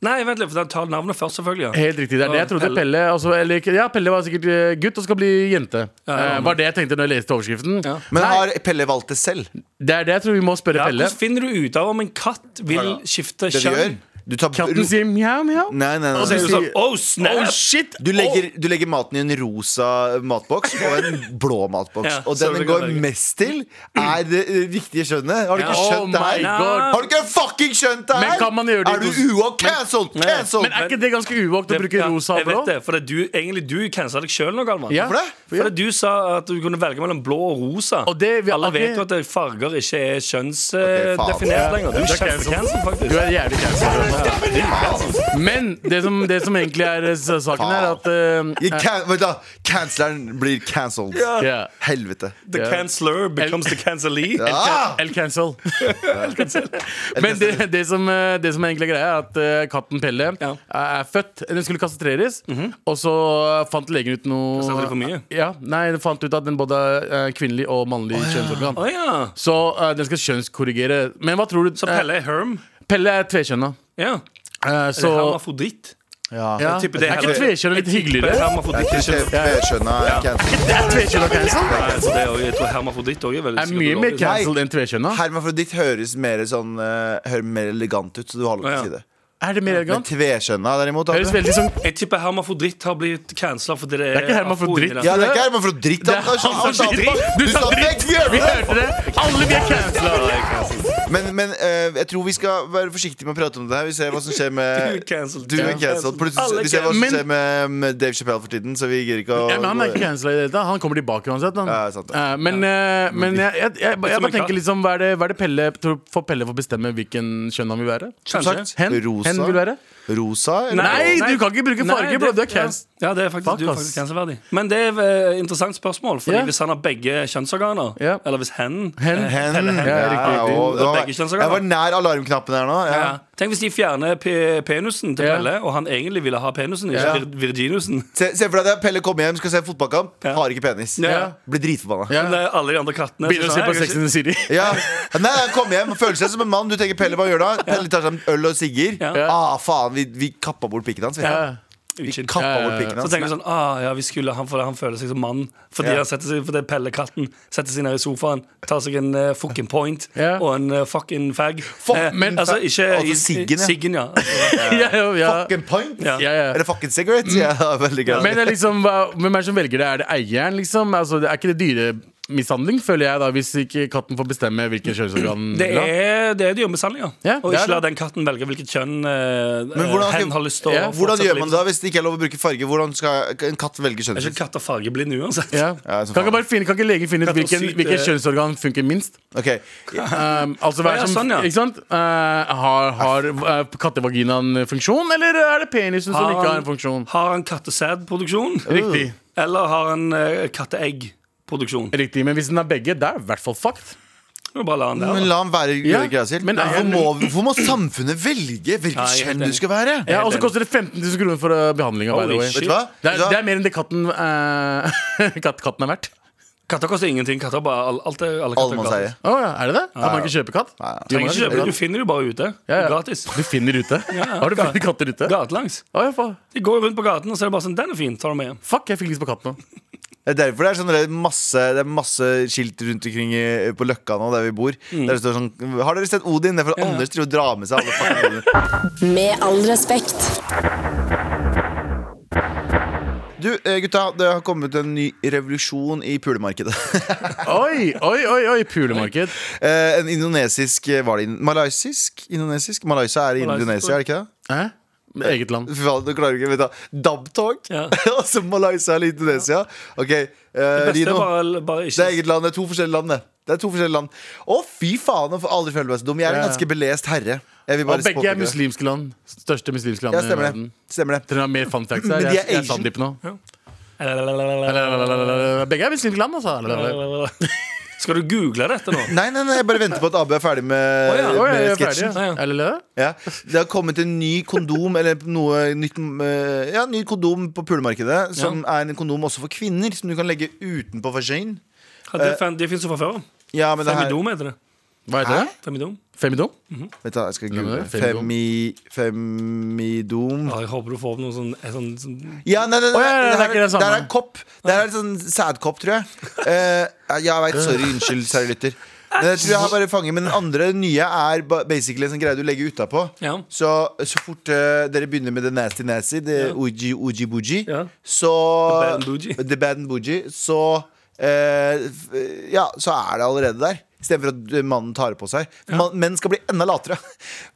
[SPEAKER 3] Nei, vent litt, for den tar navnet først, selvfølgelig. ja.
[SPEAKER 4] Helt riktig. det er det jeg trodde
[SPEAKER 3] Pelle.
[SPEAKER 4] Pelle altså, eller, ikke- Ja, Pelle var sikkert eh, gutt og skal bli jente.
[SPEAKER 3] ja,
[SPEAKER 4] Eh, var det jeg tenkte når jeg leste overskriften.
[SPEAKER 3] Ja.
[SPEAKER 2] Men
[SPEAKER 4] Nei,
[SPEAKER 2] har Pelle valgt det selv?
[SPEAKER 4] det er det jeg tror vi må spørre
[SPEAKER 3] Ja,
[SPEAKER 4] Pelle.
[SPEAKER 3] hvordan finner du ut av om en katt vil skifte
[SPEAKER 2] Det du gjør?
[SPEAKER 3] kjønn?
[SPEAKER 2] Du tar
[SPEAKER 4] Katten sier mjau, mjau.
[SPEAKER 2] Nei, nei,
[SPEAKER 3] Og
[SPEAKER 2] nei.
[SPEAKER 3] så er
[SPEAKER 4] Du
[SPEAKER 3] du sånn
[SPEAKER 4] sier-
[SPEAKER 3] Oh, snap!
[SPEAKER 4] Oh shit!
[SPEAKER 2] Du legger, du legger maten i en rosa matboks og en blå matboks.
[SPEAKER 3] Ja,
[SPEAKER 2] og den
[SPEAKER 3] så du
[SPEAKER 2] den
[SPEAKER 3] kan
[SPEAKER 2] går
[SPEAKER 3] velge.
[SPEAKER 2] mest til, er det eh, riktige skjønnet. Har du ikke
[SPEAKER 4] Ja, oh
[SPEAKER 2] skjønt det
[SPEAKER 4] my
[SPEAKER 2] her?
[SPEAKER 4] god.
[SPEAKER 2] Har du ikke fucking skjønt det her?
[SPEAKER 4] Men kan man gjøre det i
[SPEAKER 2] Er du
[SPEAKER 4] kos-
[SPEAKER 2] uok? Cancelled!
[SPEAKER 4] Men
[SPEAKER 2] Cancelled!
[SPEAKER 4] er ikke det ganske uvåkt å
[SPEAKER 3] Det-
[SPEAKER 4] bruke
[SPEAKER 3] ja,
[SPEAKER 4] rosa og
[SPEAKER 3] Jeg
[SPEAKER 4] blå?
[SPEAKER 3] vet det, for det er du, egentlig du cancela deg sjøl nå, Galvan.
[SPEAKER 4] Ja.
[SPEAKER 2] Hvorfor det?
[SPEAKER 3] Fordi du sa at du kunne velge mellom blå og rosa.
[SPEAKER 4] Og det vi
[SPEAKER 3] Alle
[SPEAKER 4] alle-
[SPEAKER 3] vet jo at farger ikke
[SPEAKER 2] Ok,
[SPEAKER 3] er
[SPEAKER 2] faen.
[SPEAKER 3] kjønnsdefinert lenger. Du er kjempecancel,
[SPEAKER 4] Du
[SPEAKER 3] faktisk.
[SPEAKER 4] er jævlig cancel. Men det som, det som egentlig er eh, saken, er at eh,
[SPEAKER 2] Jeg Can Vent, da. Canceleren blir cancelled.
[SPEAKER 4] ja,
[SPEAKER 2] Helvete.
[SPEAKER 3] The canceller becomes the cancelee.
[SPEAKER 2] Ah!
[SPEAKER 3] (laughs)
[SPEAKER 4] El cancel. Men det, det, som, eh, det som egentlig er greia, er at eh, katten Pelle eh,
[SPEAKER 3] Ja. Mhm.
[SPEAKER 4] er født Den skulle kastreres, og så eh, fant legen ut noe
[SPEAKER 3] Kastrerer de for mye?
[SPEAKER 4] Ja, nei, den fant ut at den både er eh, kvinnelig og mannlig kjønnsorgan.
[SPEAKER 3] Å ja.
[SPEAKER 4] Så eh, den skal kjønnskorrigere. Men hva tror du?
[SPEAKER 3] Så Pelle er Herm.
[SPEAKER 4] Eh, Pelle er tvekjønna.
[SPEAKER 3] Ja.
[SPEAKER 4] Eh,
[SPEAKER 3] Så,
[SPEAKER 4] så
[SPEAKER 3] hermafroditt.
[SPEAKER 4] ja.
[SPEAKER 3] tipper det
[SPEAKER 4] Er ikke
[SPEAKER 3] heller-
[SPEAKER 4] tvekjønna litt
[SPEAKER 3] Pelle er
[SPEAKER 4] hyggeligere?
[SPEAKER 3] hermafroditt.
[SPEAKER 2] Ikke
[SPEAKER 3] ikke-
[SPEAKER 2] tveskjønna cancelled.
[SPEAKER 4] Det er tvekjønna cancel.
[SPEAKER 3] Nei, så det er jo- Jeg tror hermafroditt òg er veldig
[SPEAKER 4] Er mye mer
[SPEAKER 3] psykologisk.
[SPEAKER 4] cancel enn tvekjønna.
[SPEAKER 2] Hermafroditt høres mer sånn eh, hører mer elegant ut, så du har lov til
[SPEAKER 3] Ja,
[SPEAKER 2] å
[SPEAKER 3] ja.
[SPEAKER 2] si det.
[SPEAKER 4] Er det mer
[SPEAKER 2] Men
[SPEAKER 4] elegant?
[SPEAKER 2] tveskjønna derimot
[SPEAKER 4] Høres
[SPEAKER 2] Abu?
[SPEAKER 4] veldig sånn- som
[SPEAKER 3] Jeg tipper hermafroditt har blitt cancela fordi det er
[SPEAKER 4] Det er ikke hermafroditt.
[SPEAKER 3] afro-
[SPEAKER 2] Ja, det er ikke hermafroditt.
[SPEAKER 4] Det er
[SPEAKER 2] han- han- han sa-
[SPEAKER 4] hermafroditt. Du
[SPEAKER 2] Du
[SPEAKER 4] sa
[SPEAKER 2] sa
[SPEAKER 4] dritt.
[SPEAKER 2] dritt! Vi gjør
[SPEAKER 4] Vi
[SPEAKER 2] det!
[SPEAKER 4] hørte det! Alle vi er cancela!
[SPEAKER 2] Men, men eh, jeg tror vi skal være forsiktige med å prate om det her. Vi ser hva som skjer
[SPEAKER 3] Du
[SPEAKER 2] med
[SPEAKER 3] er cancelled.
[SPEAKER 2] Du er
[SPEAKER 3] Ja.
[SPEAKER 2] cancelled. Plutselig
[SPEAKER 3] Alle
[SPEAKER 2] vi ser hva som
[SPEAKER 4] men-
[SPEAKER 2] skjer med, med Dave Chappelle for tiden, så vi gidder ikke å
[SPEAKER 4] Ja, men han er ikke cancela i det hele tatt. Han kommer tilbake uansett. Han.
[SPEAKER 2] Ja, sant det.
[SPEAKER 4] Eh, men eh, men jeg, jeg, jeg, jeg,
[SPEAKER 3] som en
[SPEAKER 4] bare tenker
[SPEAKER 3] katt.
[SPEAKER 4] liksom Hva er det, hva er det Pelle tror, Får Pelle få bestemme hvilken kjønn han vil være?
[SPEAKER 2] Som sagt,
[SPEAKER 4] Hen?
[SPEAKER 2] rosa.
[SPEAKER 4] Hen vil være?
[SPEAKER 2] Rosa? eller-
[SPEAKER 4] Nei, du kan ikke bruke
[SPEAKER 3] Nei,
[SPEAKER 4] farge,
[SPEAKER 3] det-
[SPEAKER 4] bro! Du er
[SPEAKER 3] ja.
[SPEAKER 4] cancel.
[SPEAKER 3] Ja, det er faktisk,
[SPEAKER 4] Fuck,
[SPEAKER 3] du er
[SPEAKER 4] ass.
[SPEAKER 3] faktisk cancelverdig. Men det er et interessant spørsmål. Fordi
[SPEAKER 4] Ja.
[SPEAKER 3] Hvis han har begge kjønnsorganer,
[SPEAKER 4] Ja.
[SPEAKER 3] eller hvis hen,
[SPEAKER 4] Hen.
[SPEAKER 3] eh,
[SPEAKER 2] Hen.
[SPEAKER 3] eller hen
[SPEAKER 4] Ja, riktig,
[SPEAKER 2] Ja,
[SPEAKER 4] riktig.
[SPEAKER 2] og- det var-
[SPEAKER 3] Begge kjønnsorganer.
[SPEAKER 2] Jeg var nær alarmknappen her nå.
[SPEAKER 3] ja.
[SPEAKER 2] Ja.
[SPEAKER 3] Tenk hvis de fjerner pe- penisen til
[SPEAKER 4] Ja.
[SPEAKER 3] Pelle, og han egentlig ville ha penisen, ikke
[SPEAKER 4] Ja.
[SPEAKER 3] vir virginusen.
[SPEAKER 2] Se, se for deg at Pelle kommer hjem, skal se en fotballkamp,
[SPEAKER 3] Ja.
[SPEAKER 2] har ikke penis.
[SPEAKER 3] Ja.
[SPEAKER 2] Blir dritforbanna.
[SPEAKER 4] Ja.
[SPEAKER 3] Men det er (laughs) alle de andre kattene
[SPEAKER 4] Begynner å
[SPEAKER 3] som
[SPEAKER 4] se
[SPEAKER 3] sa,
[SPEAKER 4] på
[SPEAKER 3] «Jeg er
[SPEAKER 4] Sex and the City.
[SPEAKER 2] Ja. Nei, han kommer hjem, føler seg som en mann. Du tenker Pelle, hva gjør du da? Pelle tar seg en øl og sigger.
[SPEAKER 3] Ja.
[SPEAKER 2] Ah, faen, vi, vi kappa bort pikken hans. Vi,
[SPEAKER 4] Ja.
[SPEAKER 3] ikke-
[SPEAKER 2] vi
[SPEAKER 3] ikke».
[SPEAKER 2] kappa
[SPEAKER 4] Ja,
[SPEAKER 2] bort
[SPEAKER 4] ja, ja.
[SPEAKER 2] pikken
[SPEAKER 3] Så
[SPEAKER 2] hans.
[SPEAKER 3] tenker jeg sånn, ah, ja, vi skulle, han, for han føler seg som mann Fordi
[SPEAKER 2] Ja.
[SPEAKER 3] han setter seg, fordi Pelle katten Setter seg ned i sofaen, tar seg en eh, fucking point
[SPEAKER 4] Ja.
[SPEAKER 3] Og en eh, fucking fag Eh,
[SPEAKER 4] men-
[SPEAKER 3] Altså ikke
[SPEAKER 2] Altså, siggen, ja.
[SPEAKER 3] siggen, ja. Altså,
[SPEAKER 4] Ja, ja, ja.
[SPEAKER 2] Fucking point?
[SPEAKER 3] Ja.
[SPEAKER 4] Ja, ja.
[SPEAKER 2] Eller fucking cigarette? Ja, veldig gøy.
[SPEAKER 4] Men det er liksom, hva- hvem er det som velger det? Er det eieren, liksom? Altså, det er ikke det dyremishandling, føler jeg, da hvis ikke katten får bestemme hvilken kjønnsorgan
[SPEAKER 3] (laughs) Det
[SPEAKER 4] den vil ha?
[SPEAKER 3] er, det er dyremishandling, ja.
[SPEAKER 4] Ja,
[SPEAKER 3] og
[SPEAKER 4] det er
[SPEAKER 3] ikke la
[SPEAKER 4] det.
[SPEAKER 3] den katten velge hvilket kjønn eh,
[SPEAKER 2] Men hvordan-
[SPEAKER 3] hen har lyst til
[SPEAKER 4] Ja,
[SPEAKER 3] å
[SPEAKER 2] Hvordan gjør man det
[SPEAKER 3] livet.
[SPEAKER 2] da hvis det ikke er lov å bruke farge? Hvordan skal en katt velge
[SPEAKER 3] Er
[SPEAKER 2] kjønnet
[SPEAKER 3] ikke
[SPEAKER 2] sitt?
[SPEAKER 3] katter fargeblinde uansett?
[SPEAKER 4] Ja.
[SPEAKER 2] Ja, som
[SPEAKER 4] Kan, ikke
[SPEAKER 2] faen.
[SPEAKER 4] bare finne, kan ikke legen finne ut
[SPEAKER 3] Katt og
[SPEAKER 4] hvilken,
[SPEAKER 3] syke-
[SPEAKER 4] hvilken kjønnsorgan funker minst?
[SPEAKER 2] Ok,
[SPEAKER 4] Um, altså, hva
[SPEAKER 3] Å, ja,
[SPEAKER 4] er som,
[SPEAKER 3] sånn, ja.
[SPEAKER 4] Ikke sant? Eh, har har eh, kattevaginaen funksjon, eller er det penisen som ikke har en funksjon?
[SPEAKER 3] har han kattesædproduksjon?
[SPEAKER 4] Riktig.
[SPEAKER 3] Eller har han eh, katteeggproduksjon?
[SPEAKER 4] Riktig, Men hvis den er begge, det er i hvert fall fucked.
[SPEAKER 3] Du bare la han der.
[SPEAKER 2] Men
[SPEAKER 3] da.
[SPEAKER 2] la ham være
[SPEAKER 4] Ja,
[SPEAKER 2] greia si.
[SPEAKER 4] men-
[SPEAKER 2] Hvorfor må, hvorfor må samfunnet velge hvilket
[SPEAKER 3] Nei, jeg er helt
[SPEAKER 2] kjønn du
[SPEAKER 3] enig.
[SPEAKER 2] skal være?
[SPEAKER 4] Ja, Og så
[SPEAKER 3] enig.
[SPEAKER 4] koster det 15 000 kroner for uh, behandlinga, by
[SPEAKER 3] Holy
[SPEAKER 4] the way.
[SPEAKER 3] shit.
[SPEAKER 2] Vet du hva?
[SPEAKER 4] Det er,
[SPEAKER 2] Vet du
[SPEAKER 4] det
[SPEAKER 2] hva?
[SPEAKER 4] er mer enn det katten, eh, (laughs) katt, katten er verdt.
[SPEAKER 3] Katter koster ingenting. Katter bare, all- alt er, alle katter er
[SPEAKER 2] Allmannseie.
[SPEAKER 3] gratis.
[SPEAKER 4] Å ja, er det det? Kan man ikke kjøpe katt?
[SPEAKER 2] Nei, nei.
[SPEAKER 4] Jo, man
[SPEAKER 3] Trenger ikke
[SPEAKER 4] kan
[SPEAKER 3] kjøpe,
[SPEAKER 4] kjøpe
[SPEAKER 3] du finner det jo bare ute.
[SPEAKER 4] Ja, ja. (laughs)
[SPEAKER 3] Gratis.
[SPEAKER 4] katt. Du finner ute?
[SPEAKER 2] (laughs)
[SPEAKER 4] Har du funnet katter ute?
[SPEAKER 3] Gatelangs.
[SPEAKER 4] Å, ja, faen.
[SPEAKER 3] De går rundt på gaten, og så er det bare sånn Den er fin, tar du med hjem.
[SPEAKER 4] Fuck, jeg fikk lyst på katt nå.
[SPEAKER 2] Det er derfor det er, sånn, det er, masse, det er masse skilt rundt omkring i, på Løkka nå, der vi bor.
[SPEAKER 4] Mm.
[SPEAKER 2] Der det står sånn Har dere sett Odin? Det er for Anders driver og drar med seg alle fucking
[SPEAKER 4] (laughs)
[SPEAKER 2] Odin.
[SPEAKER 5] Med all respekt.
[SPEAKER 2] Du, eh, gutta, det har kommet en ny revolusjon i pulemarkedet. (laughs)
[SPEAKER 4] Oi, oi, oi, oi, pulemarked.
[SPEAKER 2] Eh, en indonesisk eh, Var det in malaysisk? Indonesisk? Malaysia er i
[SPEAKER 3] Malaysia,
[SPEAKER 2] Indonesia, er det ikke det?
[SPEAKER 4] Hæ? Eget land.
[SPEAKER 2] Fy faen, du klarer ikke, vet du Dabtog,
[SPEAKER 3] Ja.
[SPEAKER 2] (laughs) og så Malaysia eller Indonesia Ok, eh,
[SPEAKER 3] Beste er
[SPEAKER 2] Rino
[SPEAKER 3] bare, bare
[SPEAKER 2] Det er
[SPEAKER 3] ikke
[SPEAKER 2] eget land, det er to forskjellige land det Det er to forskjellige land Å fy faen, jeg får aldri føle meg så dum Jeg er
[SPEAKER 4] Ja,
[SPEAKER 2] en
[SPEAKER 4] ja.
[SPEAKER 2] ganske belest herre Jeg vil bare
[SPEAKER 4] Og begge
[SPEAKER 2] påpeke
[SPEAKER 4] er
[SPEAKER 2] det.
[SPEAKER 4] muslimske land. Største muslimske
[SPEAKER 2] Ja,
[SPEAKER 4] land i
[SPEAKER 2] stemmer det,
[SPEAKER 4] verden.
[SPEAKER 2] stemmer det
[SPEAKER 4] Dere har mer fun facts her.
[SPEAKER 2] Men de
[SPEAKER 4] Jeg,
[SPEAKER 2] er
[SPEAKER 4] jeg er
[SPEAKER 2] Asian.
[SPEAKER 4] Sandeep nå.
[SPEAKER 3] Lalalala.
[SPEAKER 4] Begge er muslimske land, altså.
[SPEAKER 3] (laughs) Skal du google dette
[SPEAKER 2] (laughs)
[SPEAKER 3] nå?
[SPEAKER 2] Nei, nei, nei, jeg bare venter på at AB er ferdig med,
[SPEAKER 3] Å ja, å
[SPEAKER 4] Oi,
[SPEAKER 2] med
[SPEAKER 4] jeg er ferdig.
[SPEAKER 2] sketsjen
[SPEAKER 3] Ja, ja.
[SPEAKER 4] Eller det?
[SPEAKER 2] ja. Det har kommet en ny kondom Eller noe nytt eh, Ja, ny kondom på pulemarkedet Som er en kondom også for kvinner Som du kan legge utenpå for skjøn
[SPEAKER 3] Ja, det, fin- det finnes jo fra før av.
[SPEAKER 2] Ja, Eh, men det her
[SPEAKER 3] Femidom heter det.
[SPEAKER 4] Hva heter det?
[SPEAKER 3] Femidom.
[SPEAKER 4] Femidom?
[SPEAKER 2] Vent da, jeg skal google.
[SPEAKER 4] Femidom.
[SPEAKER 2] Femi, femidom
[SPEAKER 3] Ja, jeg håper du får opp noe sånn, en sånn, sånn
[SPEAKER 2] Ja, nei, nei, nei,
[SPEAKER 4] Å, ja, ja, det er ikke det samme.
[SPEAKER 2] Der er en kopp. Der er en sånn sædkopp, tror jeg. Eh, ja, jeg veit. Sorry. Unnskyld, kjære lytter. Men jeg tror jeg har bare fanget, men den andre den nye er ba- basically en sånn greie du legger utapå.
[SPEAKER 3] Ja.
[SPEAKER 2] Så, så fort eh, dere begynner med det nasty nasty, det
[SPEAKER 3] Ja.
[SPEAKER 2] oji oji buji,
[SPEAKER 3] Ja.
[SPEAKER 2] så
[SPEAKER 3] The bad and bougie.
[SPEAKER 2] The bad and bougie, Så eh, f- Ja, så er det allerede der. Istedenfor at eh, mannen tar det på seg. Man, menn skal bli enda latere.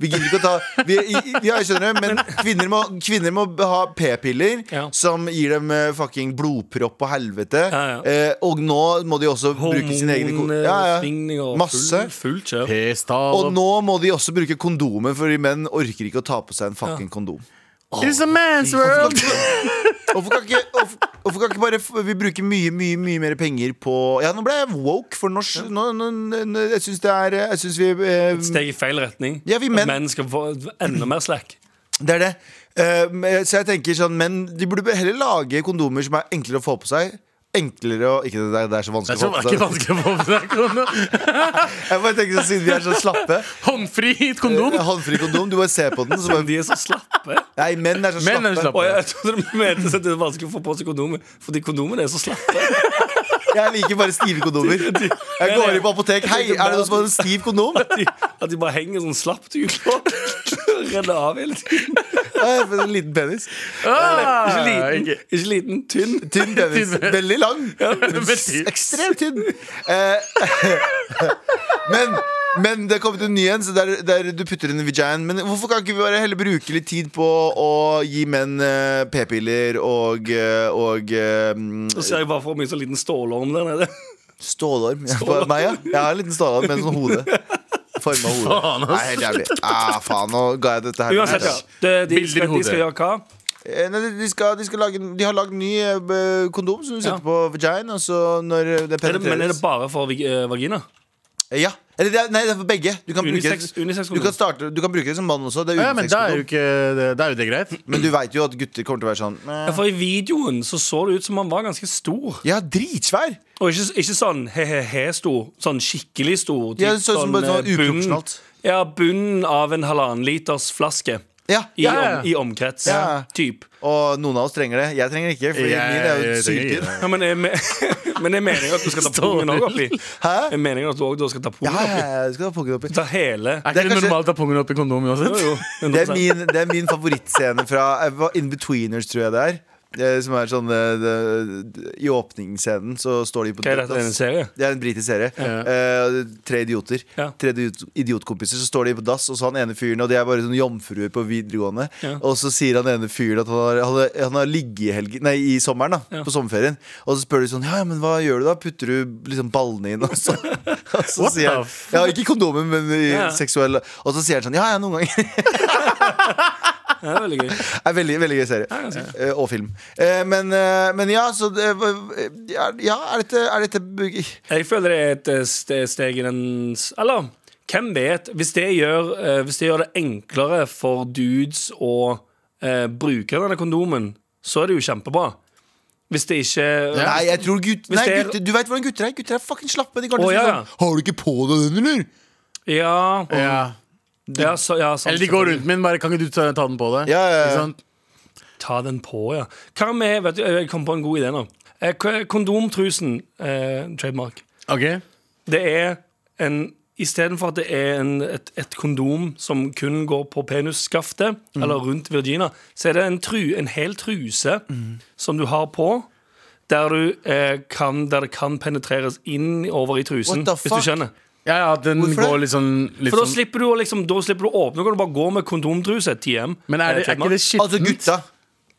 [SPEAKER 2] Vi gidder ikke å ta vi, i, i- Ja, jeg skjønner det, men kvinner må, kvinner må ha p-piller
[SPEAKER 3] Ja.
[SPEAKER 2] som gir dem eh, fucking blodpropp og helvete.
[SPEAKER 3] Ja, ja.
[SPEAKER 2] Eh, og nå må de også bruke sine egne ko-
[SPEAKER 3] hormonsvingninger eh, og
[SPEAKER 2] Masse.
[SPEAKER 3] full, fullt kjør.
[SPEAKER 2] Og
[SPEAKER 4] P-stav
[SPEAKER 2] nå må de også bruke kondomer, fordi menn orker ikke å ta på seg en fucking kondom.
[SPEAKER 4] It's a man's world!
[SPEAKER 2] Hvorfor kan ikke, hvorfor, hvorfor kan ikke bare f- vi bruke mye, mye mye mer penger på Ja, nå ble jeg woke for norsk. Nå, nå, nå, jeg syns det er Jeg syns vi
[SPEAKER 3] Et
[SPEAKER 2] eh,
[SPEAKER 3] steg i feil retning.
[SPEAKER 2] Ja, vi menn-
[SPEAKER 3] At menn skal få enda mer slack.
[SPEAKER 2] Det er det. Eh, men- så jeg tenker sånn Men de burde heller lage kondomer som er enklere å få på seg. Enklere å Ikke det, der- det er så vanskelig
[SPEAKER 4] Det er
[SPEAKER 2] å få
[SPEAKER 4] ikke
[SPEAKER 2] på seg.
[SPEAKER 4] vanskelig å få med seg kondom.
[SPEAKER 2] Jeg bare tenker sånn, Siden vi er så slappe.
[SPEAKER 4] Håndfri kondom.
[SPEAKER 2] Eh, Håndfri kondom. Du bare ser på den, så bare
[SPEAKER 3] De er så slappe.
[SPEAKER 2] Nei, menn er så
[SPEAKER 4] Menn er
[SPEAKER 2] slappe.
[SPEAKER 4] slappe.
[SPEAKER 3] Og jeg trodde du mente at det er vanskelig å få på seg kondomer, fordi kondomene er så slappe.
[SPEAKER 2] Jeg liker bare stive kondomer. Jeg går inn på apotek. Hei, er det noen som har en stiv kondom?
[SPEAKER 3] At de, at de bare henger sånn slapt ut og renner av hele tiden.
[SPEAKER 2] Eh, for En liten penis.
[SPEAKER 3] Ikke
[SPEAKER 4] Ah,
[SPEAKER 3] liten,
[SPEAKER 4] ikke-
[SPEAKER 3] ikke liten tynn.
[SPEAKER 2] Tynn penis. Veldig lang.
[SPEAKER 4] men tynn.
[SPEAKER 2] Ekstremt tynn. Eh, (laughs) men men det er kommet en ny en, så der, der du putter inn en vagin. Men hvorfor kan ikke vi bare heller bruke litt tid på å gi menn eh, p-piller og, eh, og eh, mm,
[SPEAKER 3] Så ser jeg bare for meg en sånn liten stålorm der nede.
[SPEAKER 2] stålorm? Ja, på meg, ja. Jeg har en liten stålorm med en sånn hode. Forma hode.
[SPEAKER 4] Faen, ass.
[SPEAKER 2] Nei, helt jævlig. Ah, faen, nå ga jeg dette her.
[SPEAKER 3] Uansett, ja. Det, de,
[SPEAKER 4] Bilder i
[SPEAKER 3] skal, de
[SPEAKER 4] hodet.
[SPEAKER 3] skal gjøre hva?
[SPEAKER 2] Eh, Nei, de, de, skal, de, skal lage, en- de har lagd ny eh, b- kondom som du setter på vagina. Og så når eh, det
[SPEAKER 3] Er det,
[SPEAKER 2] penetreres
[SPEAKER 3] men er det bare for vag- eh, vagina?
[SPEAKER 2] Eh, Ja, Eller det er, Nei, det er for begge. Du kan,
[SPEAKER 3] Unisex-
[SPEAKER 2] bruke,
[SPEAKER 3] unisex
[SPEAKER 2] du
[SPEAKER 3] kondom.
[SPEAKER 2] kan, starte, du kan bruke det som mann også. Det er
[SPEAKER 4] Ja, men da er jo
[SPEAKER 2] unisex-kondom.
[SPEAKER 4] ikke Da er jo det greit.
[SPEAKER 2] Men du veit jo at gutter kommer til å være sånn
[SPEAKER 3] Ja,
[SPEAKER 2] eh,
[SPEAKER 3] for i videoen så så det ut som han var ganske stor.
[SPEAKER 2] Ja, dritsvær!
[SPEAKER 3] Og ikke, ikke sånn he-he-he-stor. Sånn skikkelig stor. Typ
[SPEAKER 2] Ja, det så ut som bare sånn
[SPEAKER 3] eh, bunn-
[SPEAKER 2] uproporsjonalt.
[SPEAKER 3] Ja, bunnen av en halvannen liters flaske.
[SPEAKER 2] Ja,
[SPEAKER 3] I,
[SPEAKER 2] ja.
[SPEAKER 4] ja.
[SPEAKER 3] Om, i omkrets.
[SPEAKER 2] Ja.
[SPEAKER 3] Typ.
[SPEAKER 2] Og noen av oss trenger det. Jeg trenger det ikke, for
[SPEAKER 4] Jeg-
[SPEAKER 2] min er jo
[SPEAKER 4] jeg trenger
[SPEAKER 2] syltynn.
[SPEAKER 4] ikke
[SPEAKER 3] Ja, men, jeg, me- (laughs) men jeg mener at du skal ta pungen òg oppi.
[SPEAKER 2] Hæ?
[SPEAKER 3] Jeg mener at du også da skal ta
[SPEAKER 2] Ja,
[SPEAKER 3] pungen
[SPEAKER 2] ja,
[SPEAKER 3] oppi.
[SPEAKER 2] ja, du skal ha pungen oppi.
[SPEAKER 3] Ta
[SPEAKER 2] Det er
[SPEAKER 3] hele.
[SPEAKER 4] Er ikke det
[SPEAKER 2] kanskje-
[SPEAKER 4] normalt å ta pungen opp i kondom uansett?
[SPEAKER 3] (laughs) Jo, jo,
[SPEAKER 2] Det er
[SPEAKER 3] 100%.
[SPEAKER 2] min, det er min favorittscene fra eh, hva- Inbetweeners, tror jeg det er. Eh, Som er sånn eh, det- I åpningsscenen så står de på
[SPEAKER 3] Hva er dette, en serie?
[SPEAKER 2] Det er en britisk serie. Eh, tre idioter.
[SPEAKER 3] Ja.
[SPEAKER 2] Tre idiot- idiotkompiser. Så står de på dass, og så han ene fyren Og de er bare sånne jomfruer på videregående.
[SPEAKER 3] Ja.
[SPEAKER 2] Og så sier han ene fyren at han har, han har, han har ligget i, helgen, nei, i sommeren, da,
[SPEAKER 3] Ja.
[SPEAKER 2] på sommerferien. Og så spør de sånn Ja, ja, men hva gjør du da? Putter du liksom ballene inn? Og så, (laughs) og så
[SPEAKER 4] What
[SPEAKER 2] sier
[SPEAKER 4] the
[SPEAKER 2] han Ja, ikke kondomer, men i
[SPEAKER 3] Ja.
[SPEAKER 2] seksuell Og så sier han sånn Ja, ja, noen ganger.
[SPEAKER 3] Ja, det er veldig gøy.
[SPEAKER 2] Det er veldig, veldig gøy serie. Eh, og film. Eh, men, eh, men ja, så det, eh, Ja, er dette, er dette
[SPEAKER 3] Jeg føler det er et eh, ste- steg i den s- Eller hvem vet? Hvis det gjør, eh, hvis det, gjør det enklere for dudes å eh, bruke denne kondomen, så er det jo kjempebra. Hvis det ikke
[SPEAKER 2] Nei, jeg tror gutt,
[SPEAKER 3] Hvis
[SPEAKER 2] nei,
[SPEAKER 3] det er-
[SPEAKER 2] gutter, du vet hvordan gutter er. Gutter er fucking slappe. De kan
[SPEAKER 3] Å,
[SPEAKER 2] til å si
[SPEAKER 3] ja, ja.
[SPEAKER 2] sånn, Har du ikke på deg den, eller?
[SPEAKER 3] Ja,
[SPEAKER 4] Ja.
[SPEAKER 3] ja, så, ja sant,
[SPEAKER 4] Eller de går rundt med den, bare kan ikke du ta, ta den på deg?
[SPEAKER 2] Ja, ja, ja.
[SPEAKER 4] Ikke sant?
[SPEAKER 3] Ta den på, ja. Hva med vet du, Jeg kom på en god idé nå. Eh, k- Kondomtrusen, eh, trademark.
[SPEAKER 4] Ok
[SPEAKER 3] Det er en Istedenfor at det er en, et, et kondom som kun går på penisskaftet,
[SPEAKER 2] Mm.
[SPEAKER 3] eller rundt Virginia, så er det en, tru, en hel truse som du har på, der, du, eh, kan, der det kan penetreres inn over i trusen.
[SPEAKER 2] What the
[SPEAKER 3] Hvis
[SPEAKER 2] fuck?
[SPEAKER 3] du skjønner.
[SPEAKER 4] Ja, ja, den
[SPEAKER 2] Hvorfor det?
[SPEAKER 4] går litt sånn, litt
[SPEAKER 3] For da
[SPEAKER 4] sånn.
[SPEAKER 3] slipper du å liksom, da slipper du å åpne, da kan du bare gå med kondomtruse. TM.
[SPEAKER 4] Men er, det,
[SPEAKER 3] eh,
[SPEAKER 4] er ikke
[SPEAKER 3] trademark.
[SPEAKER 4] det skittent?
[SPEAKER 2] Altså gutta.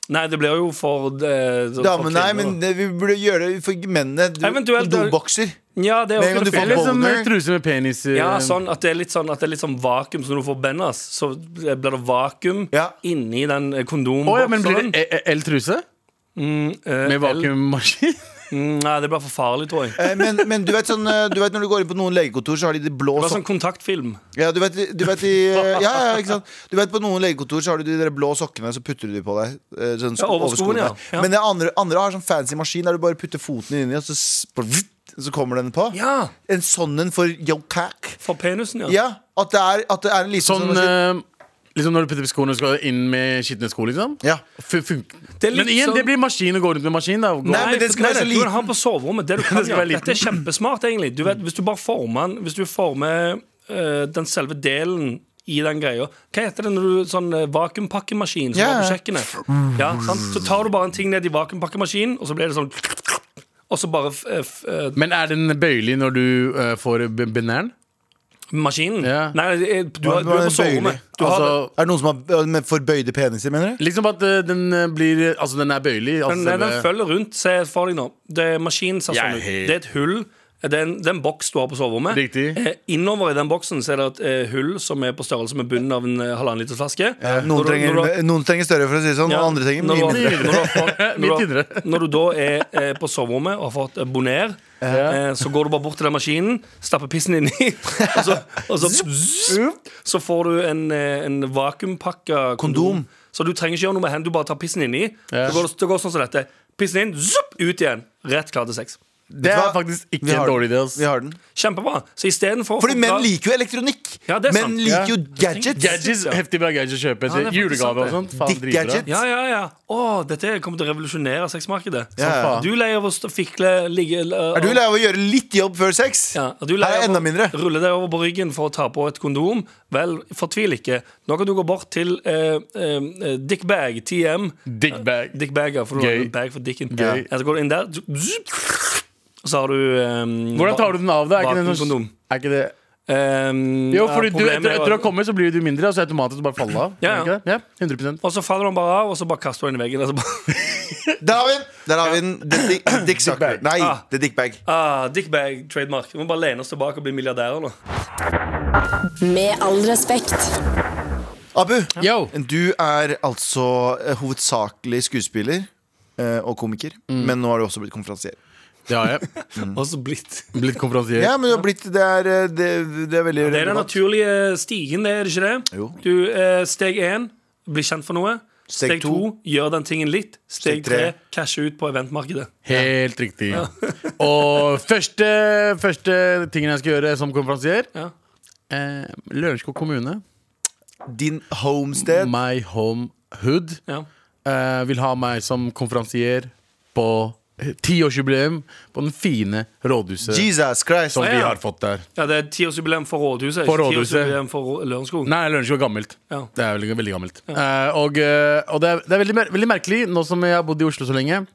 [SPEAKER 3] Nei, det blir jo for eh, for
[SPEAKER 2] Damer, nei,
[SPEAKER 3] kvinner,
[SPEAKER 2] men
[SPEAKER 3] da.
[SPEAKER 2] det, vi burde gjøre det for mennene. Du,
[SPEAKER 3] Eventuelt-
[SPEAKER 2] Kondombokser.
[SPEAKER 3] ja, det er
[SPEAKER 2] Med en
[SPEAKER 3] også
[SPEAKER 2] gang
[SPEAKER 3] det
[SPEAKER 2] du får
[SPEAKER 3] fine.
[SPEAKER 4] Eller sånn
[SPEAKER 2] boner.
[SPEAKER 4] truse med penis eh,
[SPEAKER 3] Ja, sånn at det er litt sånn At det er litt sånn vakuum Så når du får Bennas Så blir det vakuum
[SPEAKER 2] Ja.
[SPEAKER 3] Inni den eh,
[SPEAKER 4] Å
[SPEAKER 3] kondombokseren
[SPEAKER 4] ja, men blir det e- e- L-truse?
[SPEAKER 3] eh,
[SPEAKER 4] Med vakuummaskin?
[SPEAKER 3] Mm, Nei, det blir for farlig, tror jeg Det
[SPEAKER 2] Eh, Men, men du, vet sånn, eh, du vet når du går inn på noen legekontor, så har de de blå
[SPEAKER 3] var
[SPEAKER 2] sokkene.
[SPEAKER 3] sånn kontaktfilm
[SPEAKER 2] Ja, du vet, du vet, i, ja, ja, ikke sant? Du vet på noen legekontor så har du de der blå sokkene, så putter du de på deg. eh, Sånn, sko-
[SPEAKER 3] Ja, over skoene, ja. Ja.
[SPEAKER 2] Men det andre, andre har sånn fancy maskin der du bare putter foten inni, og så s- bare vutt, så kommer den på.
[SPEAKER 3] Ja.
[SPEAKER 2] En sånn en for yo cack.
[SPEAKER 3] For penisen, ja.
[SPEAKER 2] Ja, at det er, at det er en liten
[SPEAKER 4] (laughs) Sånn
[SPEAKER 2] sånn
[SPEAKER 4] eh, Liksom Når du putter på skoene og skal inn med skitne sko, liksom?
[SPEAKER 2] Ja.
[SPEAKER 4] Fun- fun-
[SPEAKER 3] Det er litt
[SPEAKER 4] men igjen,
[SPEAKER 3] sånn-
[SPEAKER 4] det blir maskin å gå rundt med maskin. Da. Gå-
[SPEAKER 3] Nei,
[SPEAKER 2] men den skal
[SPEAKER 3] nei,
[SPEAKER 2] være så
[SPEAKER 3] nei, Du kan ha den på soverommet. Det du kan
[SPEAKER 4] Den skal
[SPEAKER 3] gjøre.
[SPEAKER 4] være liten.
[SPEAKER 3] Dette er kjempesmart, egentlig. Du vet, hvis du bare former den Hvis du former eh, den selve delen i den greia Hva heter det når du sånn eh, vakuumpakkemaskin som
[SPEAKER 2] Ja.
[SPEAKER 3] var på kjøkkenet? Ja, sant? Så tar du bare en ting ned i vakuumpakkemaskinen, og så blir det sånn Og så bare f- eh, f- eh,
[SPEAKER 4] Men er den bøyelig når du eh, får b- binæren?
[SPEAKER 3] maskinen.
[SPEAKER 4] Ja.
[SPEAKER 3] Nei, det er- du,
[SPEAKER 2] Ja,
[SPEAKER 3] har-
[SPEAKER 2] det
[SPEAKER 3] du
[SPEAKER 2] var
[SPEAKER 3] er
[SPEAKER 2] en
[SPEAKER 3] på soverommet.
[SPEAKER 2] bøyle.
[SPEAKER 3] Du har
[SPEAKER 4] Altså,
[SPEAKER 3] det.
[SPEAKER 2] Er det noen som har eh, med forbøyde peniser, mener du?
[SPEAKER 4] Liksom at eh, den eh, blir Altså, den er bøyelig. Altså,
[SPEAKER 3] Den, den
[SPEAKER 4] selve-
[SPEAKER 3] følger rundt. Se for deg nå. Det er maskinen ser
[SPEAKER 4] Jeg
[SPEAKER 3] sånn
[SPEAKER 4] er
[SPEAKER 3] ut.
[SPEAKER 4] helt-
[SPEAKER 3] Det er et hull. Det er, en, det er en boks du har på soverommet.
[SPEAKER 4] Riktig.
[SPEAKER 3] Eh, innover i den boksen så er det et eh, hull som er på størrelse med bunnen av en eh, halvannen liters flaske. Når
[SPEAKER 2] Noen
[SPEAKER 3] du-
[SPEAKER 2] trenger,
[SPEAKER 3] når du-
[SPEAKER 2] noen trenger større, for å si det sånn,
[SPEAKER 3] ja,
[SPEAKER 2] og andre trenger
[SPEAKER 3] når
[SPEAKER 2] mye
[SPEAKER 3] du-
[SPEAKER 2] mindre.
[SPEAKER 3] når du har fått- når
[SPEAKER 4] (laughs) Mye
[SPEAKER 3] du har-
[SPEAKER 4] tynnere.
[SPEAKER 3] Når du da er eh, på soverommet og har fått eh, boner, eh, så går du bare bort til den maskinen, stapper pissen inni, (laughs) og så, og så, så får du en, eh, en vakuumpakka
[SPEAKER 2] Kondom.
[SPEAKER 3] Så du trenger ikke gjøre noe med hendene, du bare tar pissen inni.
[SPEAKER 4] Ja.
[SPEAKER 3] Det, går, det går sånn som dette. Pissen inn, zup, ut igjen. Rett klar til sex.
[SPEAKER 4] Det
[SPEAKER 2] Vet du
[SPEAKER 4] er
[SPEAKER 2] hva?
[SPEAKER 4] faktisk ikke
[SPEAKER 2] Vi har
[SPEAKER 4] en dårlig
[SPEAKER 2] den.
[SPEAKER 4] idé. ass.
[SPEAKER 2] Vi har den.
[SPEAKER 3] Kjempebra. Så istedenfor å
[SPEAKER 2] Fordi menn
[SPEAKER 3] fordra-
[SPEAKER 2] liker jo elektronikk.
[SPEAKER 3] Ja, det er sant.
[SPEAKER 2] menn liker jo
[SPEAKER 3] Ja.
[SPEAKER 2] gadgets.
[SPEAKER 4] Gadgets, Heftig bra gadgets å kjøpe
[SPEAKER 3] Ja, det er
[SPEAKER 4] til
[SPEAKER 3] faktisk sant,
[SPEAKER 4] julegave og
[SPEAKER 3] det.
[SPEAKER 4] sånt. Faen,
[SPEAKER 2] Dick
[SPEAKER 4] dritbra.
[SPEAKER 2] gadget.
[SPEAKER 3] Ja, ja, ja. Å, dette kommer til å revolusjonere sexmarkedet.
[SPEAKER 2] Ja, ja.
[SPEAKER 4] faen.
[SPEAKER 3] Du er lei av å stå- fikle, ligge
[SPEAKER 2] Er du lei av å gjøre litt jobb før sex?
[SPEAKER 3] Ja, og du
[SPEAKER 2] Her
[SPEAKER 3] leier
[SPEAKER 2] er enda mindre.
[SPEAKER 3] Rulle deg over på ryggen for å ta på et kondom. Vel, fortvil ikke. Nå kan du gå bort til eh, eh, Dickbag TM.
[SPEAKER 4] Dick bag.
[SPEAKER 3] Dickbag, ja, for du
[SPEAKER 4] Gøy.
[SPEAKER 3] har en bag for dicken.
[SPEAKER 4] Gøy.
[SPEAKER 3] Ja, så går du inn der, zup, og så har du eh,
[SPEAKER 4] Hvordan tar du den av, da? Er ikke den sånn
[SPEAKER 3] Vakuumkondom.
[SPEAKER 4] er ikke det
[SPEAKER 3] Eh,
[SPEAKER 4] Jo,
[SPEAKER 3] ja,
[SPEAKER 4] fordi du,
[SPEAKER 3] problemet
[SPEAKER 4] etter,
[SPEAKER 3] er jo
[SPEAKER 4] etter å
[SPEAKER 3] at-
[SPEAKER 4] ha kommet, så blir du mindre, og så automatisk bare faller av.
[SPEAKER 3] Ja,
[SPEAKER 4] Er det ikke det? ja 100
[SPEAKER 3] Og så faller den bare av, og så bare kaster du den i veggen. Og så bare, (laughs)
[SPEAKER 2] Der har vi den! Der har vi den. Det er dick, (clears throat) dick sucker. Nei,
[SPEAKER 3] Ah.
[SPEAKER 2] det er dickbag.
[SPEAKER 3] ah, Dickbag trademark. Vi må bare lene oss tilbake og bli milliardærer nå.
[SPEAKER 5] Med all respekt.
[SPEAKER 2] Abu,
[SPEAKER 4] Yo.
[SPEAKER 2] du er altså eh, hovedsakelig skuespiller eh, og komiker,
[SPEAKER 4] Mm.
[SPEAKER 2] men nå har du også blitt konferansier.
[SPEAKER 4] Det har jeg.
[SPEAKER 2] Mm.
[SPEAKER 3] Og så blitt
[SPEAKER 4] Blitt konferansier.
[SPEAKER 2] Ja, men du har blitt Det er, eh, det, det er veldig
[SPEAKER 3] Det er den
[SPEAKER 2] relevant.
[SPEAKER 3] naturlige stigen, det er det ikke det?
[SPEAKER 2] Jo.
[SPEAKER 3] Du, eh, steg én, bli kjent for noe.
[SPEAKER 2] Steg
[SPEAKER 3] Steg
[SPEAKER 2] to.
[SPEAKER 3] to, gjør den tingen litt.
[SPEAKER 2] Steg
[SPEAKER 3] Steg
[SPEAKER 2] tre.
[SPEAKER 3] tre, cashe ut på eventmarkedet.
[SPEAKER 4] Helt riktig. Og første, første tingen jeg skal gjøre som konferansier
[SPEAKER 3] Ja.
[SPEAKER 4] eh, Lørenskog kommune,
[SPEAKER 2] Din homestead.
[SPEAKER 4] my home hood,
[SPEAKER 3] Ja.
[SPEAKER 4] eh, vil ha meg som konferansier på eh, tiårsjubileum på den fine rådhuset
[SPEAKER 2] Jesus Christ.
[SPEAKER 4] som
[SPEAKER 3] ja.
[SPEAKER 4] vi har fått der.
[SPEAKER 3] ja, det er tiårsjubileum for rådhuset.
[SPEAKER 4] For
[SPEAKER 3] ikke
[SPEAKER 4] rådhuset.
[SPEAKER 3] Tiårsjubileum for Rå- Lørenskog.
[SPEAKER 4] Nei, Lørenskog er gammelt.
[SPEAKER 3] Ja.
[SPEAKER 4] Det er veldig, veldig gammelt. Eh, og eh, og det, er, det er veldig, mer- veldig merkelig, nå som jeg har bodd i Oslo så lenge,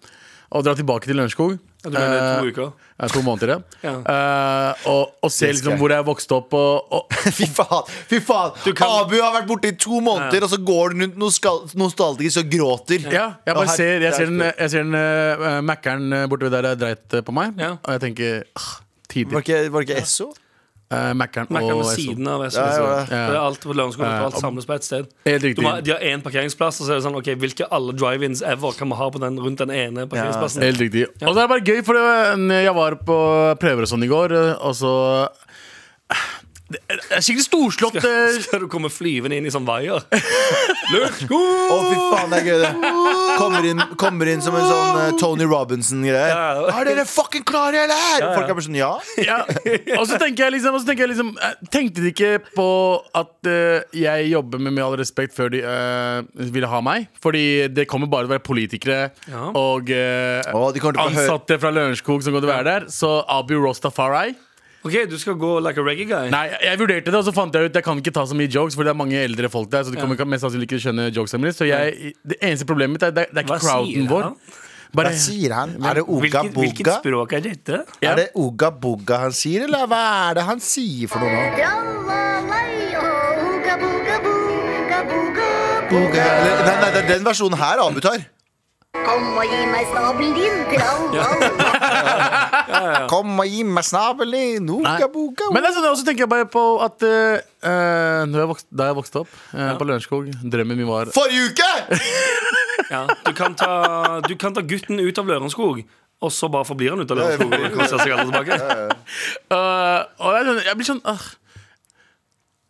[SPEAKER 4] å dra tilbake til Lørenskog.
[SPEAKER 3] Ja, Du mener
[SPEAKER 4] Eh,
[SPEAKER 3] to uker?
[SPEAKER 4] Ja, to måneder, ja. Eh, og, og
[SPEAKER 2] Det
[SPEAKER 4] se
[SPEAKER 2] skal
[SPEAKER 4] liksom
[SPEAKER 2] jeg.
[SPEAKER 4] hvor jeg vokste opp. Og,
[SPEAKER 3] (laughs)
[SPEAKER 4] og,
[SPEAKER 2] (laughs) Fy faen. Fy faen.
[SPEAKER 3] kan-
[SPEAKER 2] Abu har vært borte i to måneder,
[SPEAKER 3] Ja.
[SPEAKER 2] og så går han rundt nostal nostalgisk og gråter.
[SPEAKER 4] ja, jeg
[SPEAKER 2] Og
[SPEAKER 4] bare
[SPEAKER 2] her-
[SPEAKER 4] ser Jeg
[SPEAKER 2] der-
[SPEAKER 4] ser den, jeg ser den eh, Mac-eren eh, borte ved der jeg dreit eh, på meg,
[SPEAKER 3] Ja.
[SPEAKER 4] og jeg tenker ah,
[SPEAKER 2] Var
[SPEAKER 4] Tidlig.
[SPEAKER 2] ikke, var ikke Esso?
[SPEAKER 4] Uh, Mac-eren
[SPEAKER 3] Merker
[SPEAKER 4] og
[SPEAKER 3] ved
[SPEAKER 4] SO.
[SPEAKER 3] siden av SO.
[SPEAKER 2] Ja, ja, ja.
[SPEAKER 3] Det er alt på Lørenskog.
[SPEAKER 4] Ja,
[SPEAKER 3] Alt
[SPEAKER 4] og-
[SPEAKER 3] samles på ett sted.
[SPEAKER 4] Helt
[SPEAKER 3] Du
[SPEAKER 4] riktig.
[SPEAKER 3] må, de har én parkeringsplass, og så er det sånn OK, hvilke alle drive-ins ever kan vi ha på den rundt den ene parkeringsplassen?
[SPEAKER 4] Helt riktig. Og det er bare gøy, for det var en- jeg var på prøver og sånn i går, eh, og så Det er det er skikkelig storslått eh,
[SPEAKER 3] Skal du komme flyvende inn i sånn vaier? (laughs) Lørenskog!
[SPEAKER 2] Å, fy faen, det er gøy, det. Kommer inn, kommer inn som en sånn eh, Tony Robinson-greie.
[SPEAKER 3] Ja, ja.
[SPEAKER 2] Er dere fucking klare, eller?
[SPEAKER 3] ja.
[SPEAKER 2] Folk er bare sånn ja.
[SPEAKER 4] ja.
[SPEAKER 3] (laughs)
[SPEAKER 4] Og så tenker jeg liksom, og så tenker jeg liksom eh, Tenkte de ikke på at eh, jeg jobber med Med all respekt før de eh, ville ha meg? Fordi det kommer bare til å være politikere
[SPEAKER 3] Ja.
[SPEAKER 4] og eh,
[SPEAKER 2] Å, de kommer til å høre-
[SPEAKER 4] ansatte fra Lørenskog som kommer til å være der. Så Abu Rostafari
[SPEAKER 3] OK, du skal gå like a reggae guy.
[SPEAKER 4] Nei, jeg vurderte det, og så fant jeg ut jeg kan ikke ta så mye jokes, for det er mange eldre folk der. Så de kommer mest sannsynlig ikke skjønne jokesene mine. Så jeg, det eneste problemet mitt er det, det er ikke
[SPEAKER 3] Hva sier
[SPEAKER 4] crowden vår.
[SPEAKER 3] han?
[SPEAKER 2] Hva
[SPEAKER 4] Bare,
[SPEAKER 2] sier han? Er det Oga
[SPEAKER 3] Hvilket, hvilket
[SPEAKER 2] Boga?
[SPEAKER 3] språk er dette?
[SPEAKER 4] Ja.
[SPEAKER 2] Er det Oga Boga han sier, eller hva er det han sier for noe nå? Boga, eller, nei, nei, det er den versjonen her Abu tar.
[SPEAKER 6] Kom og gi meg snabelen din, trall-all.
[SPEAKER 2] Kom og gi meg snabelen din,
[SPEAKER 4] Nei.
[SPEAKER 2] Oga Boga.
[SPEAKER 4] Men det er sånn, og så tenker jeg bare på at eh, eh, når jeg vokste, da jeg vokste opp eh, på Lørenskog Drømmen min var
[SPEAKER 2] Forrige uke!
[SPEAKER 3] Ja, du, kan ta, du kan ta gutten ut av Lørenskog, og så bare forblir han ute av Lørenskog. Og koser seg aldri tilbake
[SPEAKER 4] Eh, Og jeg, jeg blir sånn ah. sånn,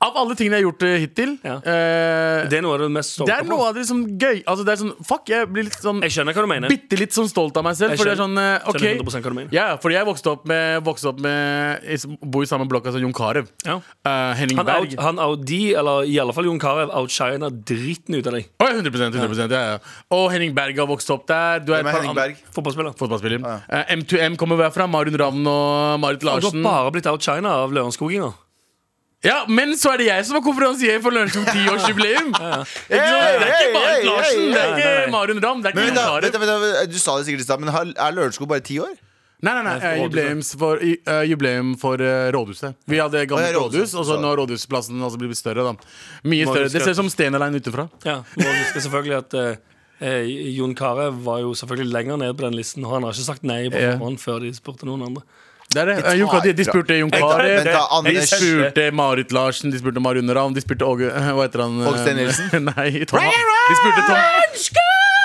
[SPEAKER 4] Av alle tingene jeg har gjort eh, hittil
[SPEAKER 3] Ja.
[SPEAKER 4] eh,
[SPEAKER 3] Det er noe av det mest
[SPEAKER 4] Det
[SPEAKER 3] stolte
[SPEAKER 4] er noe av det liksom gøy Altså det er sånn, fuck, jeg blir litt sånn
[SPEAKER 3] Jeg skjønner hva du mener.
[SPEAKER 4] Bitte litt sånn stolt av meg selv
[SPEAKER 3] Jeg
[SPEAKER 4] Fordi jeg er sånn,
[SPEAKER 3] skjønner-
[SPEAKER 4] eh, ok
[SPEAKER 3] skjønner 100% hva du mener.
[SPEAKER 4] Ja, ja, fordi jeg vokste opp med Vokste opp med jeg s- Bor i samme blokk som Jon Karev
[SPEAKER 3] Ja.
[SPEAKER 4] Eh, Henning
[SPEAKER 3] Han, out,
[SPEAKER 4] Berg
[SPEAKER 3] han out, de, eller i alle fall Jon Carew, outshiner dritten ut av deg.
[SPEAKER 4] Å, ja, 100%, 100% ja. Ja, Og Henning Berg har vokst opp der Du er et
[SPEAKER 2] Hvem er
[SPEAKER 4] par
[SPEAKER 2] Henning
[SPEAKER 4] andre-
[SPEAKER 2] Berg?
[SPEAKER 3] Fotballspiller.
[SPEAKER 4] Fotballspiller Eh, M2M kommer herfra Marun Ravn og Marit
[SPEAKER 3] Du har
[SPEAKER 4] Larsen
[SPEAKER 3] bare blitt outshina av lørenskoginger.
[SPEAKER 4] Ja, men så er det jeg som er konferansier for Lørenskog 10-årsjubileum Det
[SPEAKER 2] Hey,
[SPEAKER 4] er ikke
[SPEAKER 2] hey,
[SPEAKER 4] Marit
[SPEAKER 2] hey,
[SPEAKER 4] Larsen
[SPEAKER 2] hey,
[SPEAKER 4] Det er
[SPEAKER 3] hey. Nei, nei, nei.
[SPEAKER 4] ikke Marun Ravn Det er
[SPEAKER 2] Men
[SPEAKER 4] ikke
[SPEAKER 2] vent da,
[SPEAKER 4] Jon
[SPEAKER 2] vent da,
[SPEAKER 4] Karev
[SPEAKER 2] vent da, du sa det sikkert i stad, men har- er Lørenskog bare ti år?
[SPEAKER 4] Nei, nei, nei,
[SPEAKER 3] for
[SPEAKER 4] eh, jubileums for, i- eh, jubileum for eh, rådhuset. Vi hadde
[SPEAKER 2] Å,
[SPEAKER 4] gammelt
[SPEAKER 2] ja, rådhuset,
[SPEAKER 4] rådhus, og så
[SPEAKER 2] så.
[SPEAKER 4] nå rådhusplassen altså blir litt større. da Mye
[SPEAKER 3] Må
[SPEAKER 4] større,
[SPEAKER 3] huske
[SPEAKER 4] Det ser
[SPEAKER 3] at-
[SPEAKER 4] ut som Stenerlein utefra.
[SPEAKER 3] Ja, må huske selvfølgelig at eh, eh, Jon Carew var jo selvfølgelig lenger ned på den listen, og han har ikke sagt nei på
[SPEAKER 4] Ja.
[SPEAKER 3] forhånd før de spurte noen andre.
[SPEAKER 4] Det er det.
[SPEAKER 2] tar
[SPEAKER 4] Eh, Jon Kari- de, de
[SPEAKER 2] ifra.
[SPEAKER 4] spurte Jon Carev,
[SPEAKER 2] Vent da,
[SPEAKER 4] de
[SPEAKER 2] Anders
[SPEAKER 4] spurte Marit Larsen, de spurte Marion Ravn, de spurte Åge (laughs) eh, Hva heter han? eh,
[SPEAKER 2] Åge Steen Nilsen?
[SPEAKER 4] (laughs) nei, Tom Ha- de spurte Tom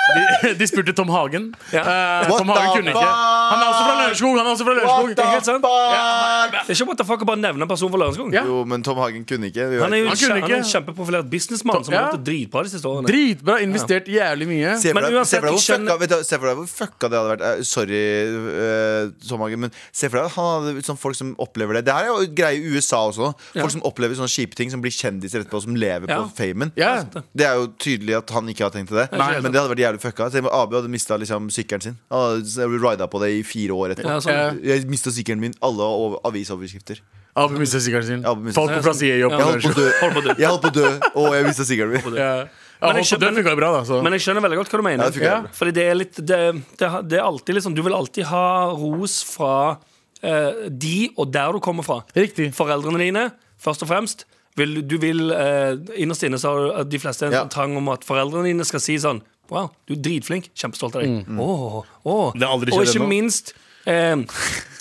[SPEAKER 4] de, de spurte Tom Hagen.
[SPEAKER 3] Ja.
[SPEAKER 4] Eh,
[SPEAKER 2] What
[SPEAKER 4] Tom Hagen
[SPEAKER 2] the
[SPEAKER 4] kunne
[SPEAKER 2] fuck?
[SPEAKER 4] ikke. Han er også fra Lørenskog! Han er også fra
[SPEAKER 2] What
[SPEAKER 4] Lørenskog.
[SPEAKER 2] the
[SPEAKER 3] helt sant.
[SPEAKER 2] fuck?
[SPEAKER 3] Det er ikke what the fuck å bare nevne en person fra Lørenskog.
[SPEAKER 4] Ja.
[SPEAKER 2] Jo, men Tom Hagen kunne ikke. Vi
[SPEAKER 3] Han er jo
[SPEAKER 4] Han
[SPEAKER 3] kje-
[SPEAKER 4] kunne
[SPEAKER 3] han er en
[SPEAKER 4] ikke.
[SPEAKER 3] kjempeprofilert businessmann som har
[SPEAKER 4] Ja.
[SPEAKER 3] gjort det dritbra de siste årene.
[SPEAKER 4] Dritbra, investert jævlig mye.
[SPEAKER 2] Se for,
[SPEAKER 3] Men
[SPEAKER 2] deg, se, for
[SPEAKER 3] uansett,
[SPEAKER 2] deg hvor
[SPEAKER 3] jeg skjønner-
[SPEAKER 2] fucka, vet du, se for deg hvor fucka det hadde vært. Eh, Sorry, eh, Tom Hagen, men se for deg at han hadde sånn folk som opplever det. Det her er jo greie i USA også. Folk
[SPEAKER 3] Ja.
[SPEAKER 2] som opplever sånne kjipe ting, som blir kjendiser etterpå, som lever
[SPEAKER 3] Ja.
[SPEAKER 2] på famen.
[SPEAKER 4] Ja.
[SPEAKER 2] Det er jo tydelig at han ikke har tenkt til det,
[SPEAKER 3] Nei.
[SPEAKER 2] men det hadde vært jævlig fucka. Se, AB hadde mista liksom, sykkelen sin. Han hadde rida på det i fire år etterpå.
[SPEAKER 3] Ja, sånn.
[SPEAKER 2] Jeg mista sykkelen min. Alle over- avisoverskrifter.
[SPEAKER 4] Abu mistet sikkeren sin.
[SPEAKER 2] Abu mistet-
[SPEAKER 4] Folk
[SPEAKER 3] Ja,
[SPEAKER 4] fra
[SPEAKER 3] sånn.
[SPEAKER 4] sida
[SPEAKER 3] Ja.
[SPEAKER 4] jobber.
[SPEAKER 2] Jeg holdt på å dø.
[SPEAKER 3] (laughs) Holdt på å dø.
[SPEAKER 2] Jeg holdt på å dø, og jeg mista sykkelen min.
[SPEAKER 4] Ja. Ja,
[SPEAKER 3] Men jeg
[SPEAKER 4] holdt på å dø
[SPEAKER 3] skjønner-
[SPEAKER 4] funka jo bra, da. Så.
[SPEAKER 3] Men jeg skjønner veldig godt hva du
[SPEAKER 2] Ja,
[SPEAKER 3] mener.
[SPEAKER 2] det fikk jeg
[SPEAKER 4] Ja.
[SPEAKER 2] gjøre.
[SPEAKER 3] Fordi det er litt Det, det, det er alltid liksom Du vil alltid ha ros fra eh, de og der du kommer fra.
[SPEAKER 4] Riktig.
[SPEAKER 3] Foreldrene dine, først og fremst. Vil, du vil eh, Innerst inne så har du- at de fleste en
[SPEAKER 2] Ja.
[SPEAKER 3] sånn trang om at foreldrene dine skal si sånn Wow, du er dritflink. Kjempestolt av deg.
[SPEAKER 2] Mm.
[SPEAKER 3] Åh, åh.
[SPEAKER 4] Det har aldri
[SPEAKER 3] og
[SPEAKER 4] skjedd
[SPEAKER 3] ikke
[SPEAKER 4] ennå.
[SPEAKER 3] minst eh,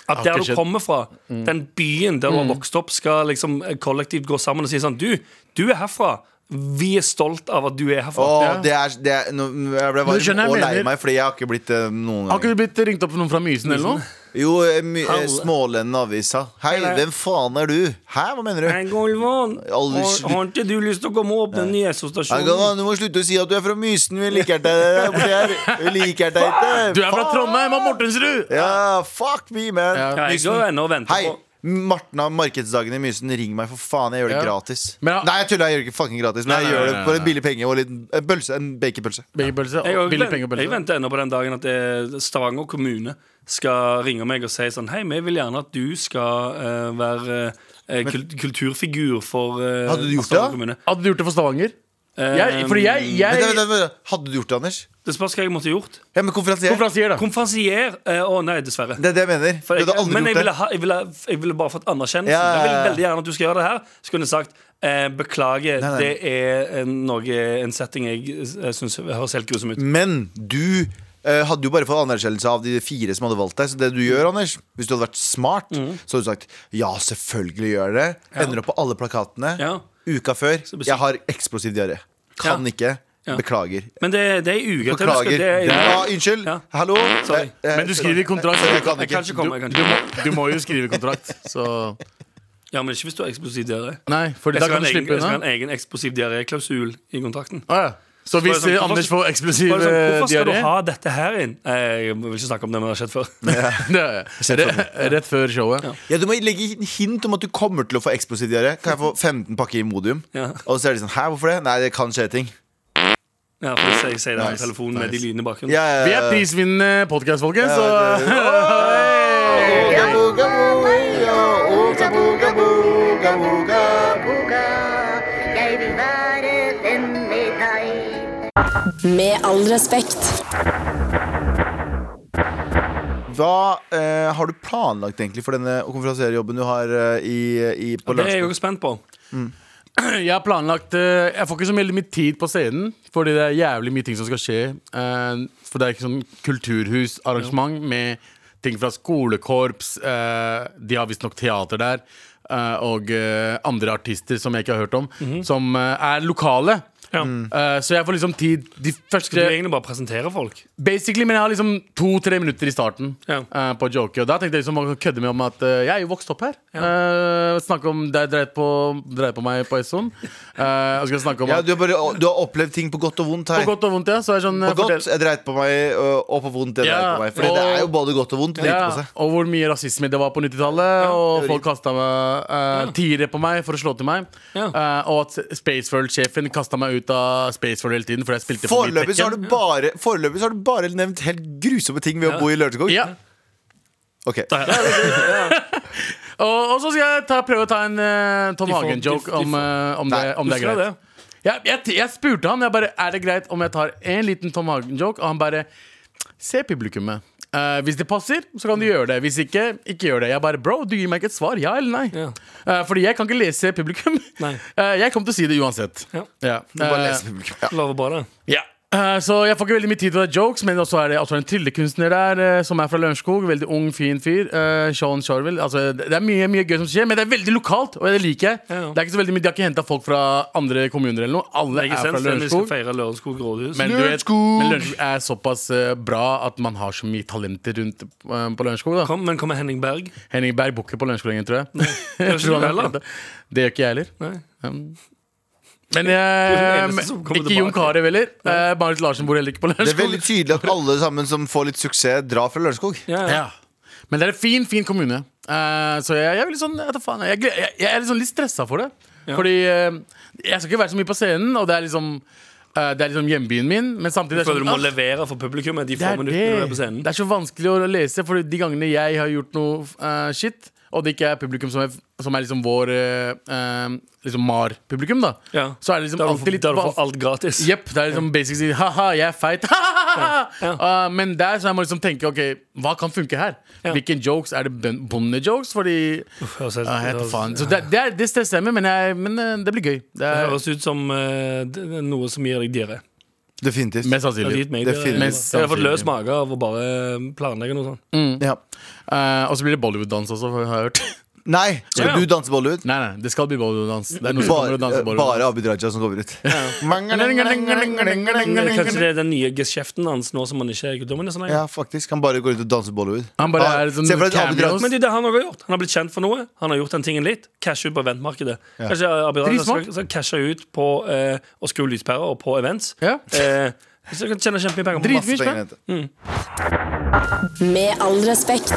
[SPEAKER 3] at
[SPEAKER 4] Har
[SPEAKER 3] der
[SPEAKER 4] ikke
[SPEAKER 3] du
[SPEAKER 4] skjedd.
[SPEAKER 3] kommer fra,
[SPEAKER 2] Mm.
[SPEAKER 3] den byen der du har vokst opp, skal liksom eh, kollektivt gå sammen og si sånn Du, du er herfra. Vi er stolt av at du er herfra.
[SPEAKER 2] Åh,
[SPEAKER 4] Ja.
[SPEAKER 2] det er, det er, nå, jeg ble
[SPEAKER 4] Men du skjønner
[SPEAKER 2] varm og
[SPEAKER 4] jeg
[SPEAKER 2] lei
[SPEAKER 4] mener-
[SPEAKER 2] meg, fordi jeg har ikke blitt det noen
[SPEAKER 4] Har
[SPEAKER 2] gang.
[SPEAKER 4] ikke du blitt ringt opp av noen fra Mysen eller noe?
[SPEAKER 2] Jo, eh, my- eh,
[SPEAKER 3] Alle.
[SPEAKER 2] Smålenden avisa. Hei,
[SPEAKER 3] Hei,
[SPEAKER 2] hvem faen er du? Hæ, hva mener du?
[SPEAKER 3] Hei, Golvan.
[SPEAKER 2] Aldri
[SPEAKER 3] Har,
[SPEAKER 2] slutt.
[SPEAKER 3] har ikke du lyst til å komme og åpne
[SPEAKER 2] Hei, Galvan,
[SPEAKER 3] Nesostasjonen?
[SPEAKER 2] Du må slutte å si at du er fra Mysen. Vi liker deg der borte her. Vi liker deg ikke.
[SPEAKER 4] Du er fra
[SPEAKER 2] Faen.
[SPEAKER 4] Trondheim og Mortensrud!
[SPEAKER 2] Ja, fuck me, man.
[SPEAKER 4] Ja.
[SPEAKER 3] Ja, jeg
[SPEAKER 2] Mysen.
[SPEAKER 3] går ennå og venter
[SPEAKER 2] Hei,
[SPEAKER 3] på-
[SPEAKER 2] Marten av Markedsdagene i Mysen, ring meg, for faen. Jeg gjør det
[SPEAKER 4] Ja.
[SPEAKER 2] gratis.
[SPEAKER 4] Men-
[SPEAKER 2] Nei, jeg tuller. Jeg gjør det ikke fucking gratis, men
[SPEAKER 4] Nei,
[SPEAKER 2] jeg
[SPEAKER 4] nei,
[SPEAKER 2] gjør
[SPEAKER 4] nei,
[SPEAKER 2] det for en billig penge og en liten en pølse. En baconpølse.
[SPEAKER 4] Babypølse.
[SPEAKER 3] Jeg,
[SPEAKER 4] og
[SPEAKER 3] vent-
[SPEAKER 4] Billig
[SPEAKER 3] jeg
[SPEAKER 4] pengepølse.
[SPEAKER 3] venter ennå på den dagen at eh, Stavanger kommune skal ringe meg og si sånn Hei, vi vil gjerne at du skal eh, være eh, kul kulturfigur for eh,
[SPEAKER 2] Hadde du gjort
[SPEAKER 3] Stavanger
[SPEAKER 2] det?
[SPEAKER 3] kommune.
[SPEAKER 4] Hadde du gjort det for Stavanger?
[SPEAKER 3] Eh,
[SPEAKER 4] Jeg, fordi jeg, jeg
[SPEAKER 2] Vent, vent, vent, Hadde du gjort det, Anders?
[SPEAKER 3] Det spørs hva jeg måtte gjort.
[SPEAKER 2] Ja, men konferansier.
[SPEAKER 4] Konferansier, da.
[SPEAKER 3] Konferansier eh, Å nei, dessverre.
[SPEAKER 2] Det er det jeg mener.
[SPEAKER 3] For
[SPEAKER 2] du
[SPEAKER 3] jeg,
[SPEAKER 2] hadde aldri
[SPEAKER 3] men jeg
[SPEAKER 2] gjort det.
[SPEAKER 3] ville, ha, jeg, ville, jeg ville bare fått
[SPEAKER 2] Ja,
[SPEAKER 3] anerkjennelse.
[SPEAKER 2] ja, ja.
[SPEAKER 3] Jeg vil veldig gjerne at du skal gjøre det her. Så kunne jeg sagt eh, beklager,
[SPEAKER 2] nei.
[SPEAKER 3] det er en, noe, en setting jeg eh, syns høres helt grusom ut.
[SPEAKER 2] Men du eh, hadde jo bare fått anerkjennelse av de fire som hadde valgt deg. Så det du gjør, Anders, hvis du hadde vært smart,
[SPEAKER 3] Mm.
[SPEAKER 2] så hadde du sagt ja, selvfølgelig gjør jeg det. Ender opp på alle plakatene.
[SPEAKER 3] Ja.
[SPEAKER 2] Uka før.
[SPEAKER 3] besøk-
[SPEAKER 2] Jeg har eksplosiv diaré. Kan
[SPEAKER 3] Ja.
[SPEAKER 2] ikke.
[SPEAKER 3] Ja.
[SPEAKER 2] Beklager.
[SPEAKER 3] Men det, det er i uke til det skal
[SPEAKER 2] Beklager.
[SPEAKER 3] det er,
[SPEAKER 2] Ja, unnskyld.
[SPEAKER 3] Ja.
[SPEAKER 2] Hallo.
[SPEAKER 3] Sorry.
[SPEAKER 2] Eh, eh,
[SPEAKER 4] Men du skriver i kontrakt.
[SPEAKER 2] Sorry, jeg kan
[SPEAKER 3] Jeg
[SPEAKER 2] ikke.
[SPEAKER 3] kan ikke komme, jeg kan
[SPEAKER 4] Du,
[SPEAKER 3] ikke.
[SPEAKER 4] må, du må jo skrive i kontrakt, så
[SPEAKER 3] Ja, men ikke hvis du har eksplosiv diaré.
[SPEAKER 4] Nei, for
[SPEAKER 3] Jeg
[SPEAKER 4] da
[SPEAKER 3] skal ha
[SPEAKER 4] kan
[SPEAKER 3] en
[SPEAKER 4] du
[SPEAKER 3] egen,
[SPEAKER 4] slippe
[SPEAKER 3] jeg skal ha en
[SPEAKER 4] unna.
[SPEAKER 3] egen eksplosiv diaré-klausul i kontrakten.
[SPEAKER 4] Å, ja. Så
[SPEAKER 3] Bare
[SPEAKER 4] hvis
[SPEAKER 3] sånn,
[SPEAKER 4] eh,
[SPEAKER 3] hvorfor-
[SPEAKER 4] Anders får eksplosiv
[SPEAKER 3] Bare sånn,
[SPEAKER 4] eh,
[SPEAKER 3] hvorfor skal
[SPEAKER 4] diaré
[SPEAKER 3] du ha dette her inn? Nei, Jeg vil ikke snakke om det, men det har skjedd før.
[SPEAKER 4] (laughs) det- re- Rett før showet.
[SPEAKER 2] Ja, du må legge inn hint om at du kommer til å få eksplosiv diaré. Kan jeg få 15 pakker Imodium?
[SPEAKER 3] (laughs) Ja.
[SPEAKER 2] Og så er de sånn Hæ, hvorfor det? Nei, det kan skje ting.
[SPEAKER 3] Ja, for jeg sier- jeg sier det på
[SPEAKER 2] Nice,
[SPEAKER 3] telefonen med de
[SPEAKER 2] nice.
[SPEAKER 3] lydene i bakgrunnen.
[SPEAKER 2] Ja, ja, ja.
[SPEAKER 4] Vi er prisvinnende podkast,
[SPEAKER 2] Ja,
[SPEAKER 4] folkens,
[SPEAKER 2] det-
[SPEAKER 4] så
[SPEAKER 2] Ooga, booga, booga, ooga, booga, booga, booga.
[SPEAKER 6] Boga, jeg vil være venn med deg.
[SPEAKER 5] Med all respekt.
[SPEAKER 2] Hva eh, har du planlagt egentlig for denne konferansierjobben du har eh, i, i, på
[SPEAKER 3] Og det er jeg
[SPEAKER 2] lunsjen?
[SPEAKER 3] jo spent på.
[SPEAKER 4] (clears throat) Jeg har planlagt eh, Jeg får ikke så veldig mye tid på scenen, fordi det er jævlig mye ting som skal skje. eh, For det er ikke sånn kulturhusarrangement med ting fra skolekorps. eh, De har visstnok teater der. eh, og eh, andre artister som jeg ikke har hørt om,
[SPEAKER 2] Mhm.
[SPEAKER 4] som eh, er lokale.
[SPEAKER 3] Ja.
[SPEAKER 4] Eh, så jeg får liksom tid de
[SPEAKER 3] Du vil
[SPEAKER 4] første
[SPEAKER 3] egentlig bare presentere
[SPEAKER 4] (laughs)
[SPEAKER 3] folk.
[SPEAKER 4] Basically, men jeg har liksom to-tre minutter i starten
[SPEAKER 3] Ja.
[SPEAKER 4] eh, på å joke. Og da tenkte jeg liksom å kødde med om at eh, jeg er jo vokst opp her. Eh, snakke om deg dreit på, dreit på meg på Esson. Eh, og skal snakke om
[SPEAKER 2] Ja,
[SPEAKER 4] at,
[SPEAKER 2] du, har bare, du har opplevd ting på godt og vondt
[SPEAKER 4] på
[SPEAKER 2] her.
[SPEAKER 4] godt og vondt, ja. Så er det sånn, eh,
[SPEAKER 2] På godt
[SPEAKER 4] fortell-
[SPEAKER 2] jeg dreit på meg, eh, og og på vondt jeg dreit
[SPEAKER 4] Ja,
[SPEAKER 2] på meg. Fordi det
[SPEAKER 4] og-
[SPEAKER 2] er jo både godt og vondt. å drite på
[SPEAKER 4] ja,
[SPEAKER 2] seg.
[SPEAKER 4] og hvor mye rasisme det var på 90-tallet. og
[SPEAKER 2] det var
[SPEAKER 4] folk kasta uh, tiere på meg for å slå til meg.
[SPEAKER 3] Ja.
[SPEAKER 4] Eh, og at Spaceworld-sjefen kasta meg ut av Spaceworld hele tiden fordi jeg spilte for mye
[SPEAKER 2] Foreløpig så, har
[SPEAKER 4] Tekken.
[SPEAKER 2] du bare, foreløpig så har du bare nevnt helt grusomme ting ved å bo i Lørenskog.
[SPEAKER 4] Ja.
[SPEAKER 2] Ok.
[SPEAKER 4] Og, og så skal jeg ta, prøve å ta en eh, Tom
[SPEAKER 3] De får-
[SPEAKER 4] Hagen-joke
[SPEAKER 3] de- de
[SPEAKER 4] om, eh, om, det,
[SPEAKER 2] Nei,
[SPEAKER 4] om det
[SPEAKER 3] Husker
[SPEAKER 4] er greit.
[SPEAKER 3] du det?
[SPEAKER 4] Jeg, jeg, jeg spurte han jeg bare, er det greit om jeg tar en liten Tom Hagen-joke, og han bare Se publikummet. Eh, hvis det passer, så kan du gjøre det. Hvis ikke, ikke gjør det. Jeg bare, bro, du gir meg ikke et svar. Ja eller nei?
[SPEAKER 3] Ja.
[SPEAKER 4] Eh, fordi jeg kan ikke lese publikum.
[SPEAKER 3] Nei.
[SPEAKER 4] Eh, jeg kommer til å si det uansett.
[SPEAKER 3] Ja.
[SPEAKER 2] Du bare
[SPEAKER 4] Eh,
[SPEAKER 2] leser publikum. Ja.
[SPEAKER 3] Lover bare det.
[SPEAKER 4] ja. Eh, Så jeg får ikke veldig mye tid til å ha jokes, men også er det også en tryllekunstner der eh, som er fra Lørenskog. Veldig ung, fin fyr. eh, Sean Charvel. Altså, det det er mye, mye gøy som skjer, men det er veldig lokalt, og det liker jeg.
[SPEAKER 3] Ja, ja.
[SPEAKER 4] Det er ikke så veldig mye, De har ikke henta folk fra andre kommuner eller noe.
[SPEAKER 3] Det
[SPEAKER 4] Alle
[SPEAKER 3] er
[SPEAKER 4] er
[SPEAKER 3] ikke
[SPEAKER 4] fra
[SPEAKER 3] sens det, vi skal
[SPEAKER 4] Lørenskog.
[SPEAKER 3] feire Lørenskog rådhus.
[SPEAKER 4] Men, du vet,
[SPEAKER 2] Lørenskog!
[SPEAKER 4] men Lørenskog er såpass eh, bra at man har så mye talenter rundt eh, på Lørenskog. da
[SPEAKER 3] Kom, men kommer Henning
[SPEAKER 4] (laughs)
[SPEAKER 3] Berg?
[SPEAKER 4] Henning Berg bor ikke på Lørenskog lenger, tror jeg.
[SPEAKER 3] Gjør
[SPEAKER 4] jeg (laughs) tror
[SPEAKER 3] ikke du
[SPEAKER 4] han har
[SPEAKER 3] heller?
[SPEAKER 4] flyttet. det gjør ikke jeg heller.
[SPEAKER 3] Nei. (laughs)
[SPEAKER 4] Men
[SPEAKER 3] den
[SPEAKER 4] jeg,
[SPEAKER 3] eneste som kommer
[SPEAKER 4] ikke Jon
[SPEAKER 3] tilbake.
[SPEAKER 4] Carew heller. Eh, Marit Larsen bor heller ikke på
[SPEAKER 2] Det er veldig
[SPEAKER 4] Lørenskog.
[SPEAKER 2] tydelig at alle sammen som får litt suksess, drar fra Lørenskog.
[SPEAKER 3] Ja, ja.
[SPEAKER 4] Ja. Men det er en fin, fin kommune. Eh, så jeg, jeg er litt sånn jeg, vet da faen, jeg, gle- jeg, jeg er liksom litt stressa for det.
[SPEAKER 3] Ja.
[SPEAKER 4] Fordi eh, jeg skal ikke være så mye på scenen, og det er liksom eh, Det er liksom hjembyen min, men samtidig er det
[SPEAKER 3] Føler du må
[SPEAKER 4] sånn, ah,
[SPEAKER 3] levere for publikum i de
[SPEAKER 4] det
[SPEAKER 3] få
[SPEAKER 4] er
[SPEAKER 3] minuttene du er på
[SPEAKER 4] det.
[SPEAKER 3] scenen?
[SPEAKER 4] Det er så vanskelig å lese, for de gangene jeg har gjort noe eh, shit, og det ikke er publikum som er, som er liksom vår eh, eh, liksom MAR-publikum, da,
[SPEAKER 3] Ja.
[SPEAKER 4] så er det liksom
[SPEAKER 3] Da har du fått-
[SPEAKER 4] alltid litt
[SPEAKER 3] da har du fått
[SPEAKER 4] vans-
[SPEAKER 3] alt gratis.
[SPEAKER 4] Jepp. Det er liksom basic sier ha-ha, jeg er (laughs) feit. ha-ha-ha-ha».
[SPEAKER 3] Ja.
[SPEAKER 4] Uh, men der så jeg må liksom tenke ok, hva kan funke her?
[SPEAKER 3] Ja. Altså,
[SPEAKER 4] Hvilke jokes? Er det bøn- bondejokes? Fordi
[SPEAKER 3] høres helt-
[SPEAKER 4] Ja, jeg vet
[SPEAKER 3] høres-
[SPEAKER 4] faen. Så det, det, er, det stresser jeg med, men, jeg, men eh, det blir gøy. Det
[SPEAKER 3] Det
[SPEAKER 4] er,
[SPEAKER 3] høres ut som eh, det- det er noe som gir deg diaré.
[SPEAKER 2] Definitivt.
[SPEAKER 4] mest
[SPEAKER 3] Det har
[SPEAKER 4] sannsynlig.
[SPEAKER 3] gitt meg
[SPEAKER 2] Det
[SPEAKER 3] diaré.
[SPEAKER 2] finnes
[SPEAKER 3] Jeg har fått
[SPEAKER 4] sannsynlig.
[SPEAKER 3] løs mage av å bare planlegge noe sånt.
[SPEAKER 4] sånn.
[SPEAKER 2] Ja.
[SPEAKER 4] Eh, og så blir det Bollywood-dans også, har jeg hørt. (laughs)
[SPEAKER 2] Nei, skal
[SPEAKER 3] Ja.
[SPEAKER 2] du danse Bollywood?
[SPEAKER 4] nei, nei, det skal bli Bollywood-dans. Det er noen som kommer
[SPEAKER 2] Bare,
[SPEAKER 4] og danser Bollywood.
[SPEAKER 2] bare Abid Raja som kommer ut.
[SPEAKER 3] eh, Kanskje det er den nye geskjeften hans nå som han ikke er kulturminister så lenge.
[SPEAKER 2] Ja, faktisk. Han bare går ut og danser Bollywood.
[SPEAKER 4] Han bare
[SPEAKER 2] Ah,
[SPEAKER 4] er sånn
[SPEAKER 2] Se for deg at Abid
[SPEAKER 4] cameos.
[SPEAKER 2] Raja
[SPEAKER 3] Men det er det han også har gjort. Han har blitt kjent for noe. Han har gjort den tingen litt. Cash ut på eventmarkedet. Kanskje eh, Abid Raja
[SPEAKER 4] Dritsmart.
[SPEAKER 3] skal, skal cashe ut på eh, å skru lyspærer og på events.
[SPEAKER 4] Ja.
[SPEAKER 3] Eh, så kan du tjene kjempemye penger. på
[SPEAKER 4] Dritmye.
[SPEAKER 2] Masse penger å hente.
[SPEAKER 5] Med all respekt.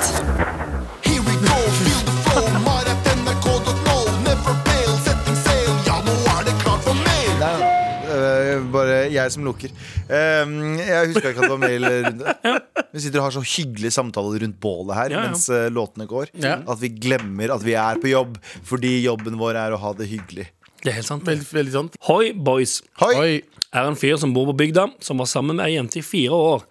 [SPEAKER 7] Here we go, feel the flow. Maratnrk.no, never fail, setting sail. Ja, nå er det klart for mail.
[SPEAKER 2] Nei, øh, bare jeg som lukker. Ehm, jeg husker ikke at det var
[SPEAKER 3] (laughs)
[SPEAKER 2] mailrunde. Vi sitter og har så hyggelige samtaler rundt bålet her
[SPEAKER 3] ja.
[SPEAKER 2] mens øh, låtene går.
[SPEAKER 4] Ja.
[SPEAKER 2] At vi glemmer at vi er på jobb, fordi jobben vår er å ha det hyggelig.
[SPEAKER 3] Det er helt sant.
[SPEAKER 4] Veldig, veldig sant.
[SPEAKER 3] Hoi Boys
[SPEAKER 2] Hoi!
[SPEAKER 4] Oi.
[SPEAKER 3] er en fyr som bor på bygda, som var sammen med ei jente i fire år.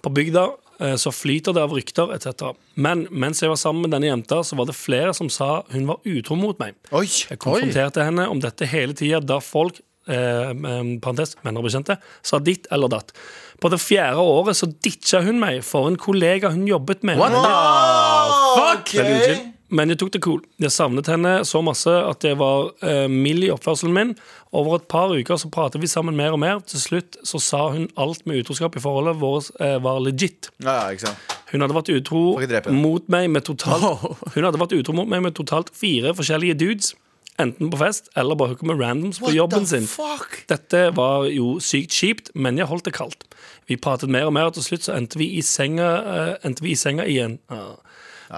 [SPEAKER 3] På bygda eh, så flyter det av rykter etc. Men mens jeg var sammen med denne jenta, så var det flere som sa hun var utro mot meg.
[SPEAKER 2] Oi.
[SPEAKER 3] Jeg konfronterte henne om dette hele tida da folk eh, em, parentes, venner og bekjente, sa ditt eller datt. På det fjerde året så ditcha hun meg for en kollega hun jobbet med.
[SPEAKER 4] What the Ah,
[SPEAKER 2] Fuck!
[SPEAKER 3] Veldig utskilt. Men jeg tok det cool. Jeg savnet henne så masse at jeg var eh, mild i oppførselen min. Over et par uker så pratet vi sammen mer og mer. Til slutt så sa hun alt med utroskap i forholdet vårt eh, var legit.
[SPEAKER 2] Ja, ja, ikke sant.
[SPEAKER 3] Hun hadde vært utro
[SPEAKER 2] Får ikke drepe henne.
[SPEAKER 3] mot meg med totalt Hun hadde vært utro mot meg med totalt fire forskjellige dudes. Enten på fest eller bare hooka med randoms på jobben sin.
[SPEAKER 2] fuck?
[SPEAKER 3] Dette var jo sykt kjipt, men jeg holdt det kaldt. Vi pratet mer og mer, og til slutt så endte vi i senga, eh, endte vi i senga igjen. Ah.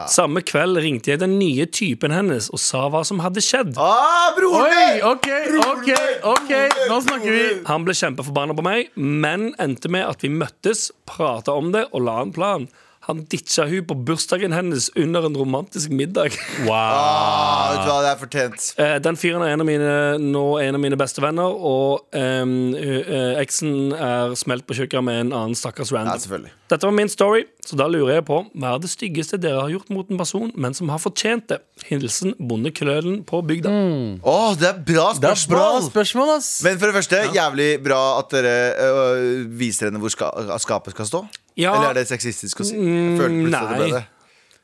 [SPEAKER 3] Samme kveld ringte jeg den nye typen hennes og sa hva som hadde skjedd.
[SPEAKER 2] Ah, broren
[SPEAKER 4] Oi,
[SPEAKER 2] min!
[SPEAKER 4] OK, OK, OK. Nå snakker vi.
[SPEAKER 3] Han ble kjempeforbanna på meg, men endte med at vi møttes, prata om det og la en plan. Han ditcha hun på bursdagen hennes under en romantisk middag.
[SPEAKER 2] Ah, vet du hva, det er fortjent.
[SPEAKER 3] Eh, Den fyren er en av mine, nå en av mine beste venner, og ehm, hu- eh, eksen er smelt på kjøkkenet med en annen stakkars
[SPEAKER 2] Ja,
[SPEAKER 3] random.
[SPEAKER 2] selvfølgelig.
[SPEAKER 3] Dette var min story, så da lurer jeg på hva er det styggeste dere har gjort mot en person, men som har fortjent det? Hilsen bondeklølen på bygda.
[SPEAKER 4] Mm.
[SPEAKER 2] Å, det er bra
[SPEAKER 4] Det er bra
[SPEAKER 2] spørsmål!
[SPEAKER 4] spørsmål, ass.
[SPEAKER 2] Men for det første, jævlig bra at dere øh, viser henne hvor ska skapet skal stå.
[SPEAKER 3] Ja. Mm,
[SPEAKER 2] Eller er det sexistisk å si? Jeg følte plutselig at det ble
[SPEAKER 3] nei.
[SPEAKER 2] det.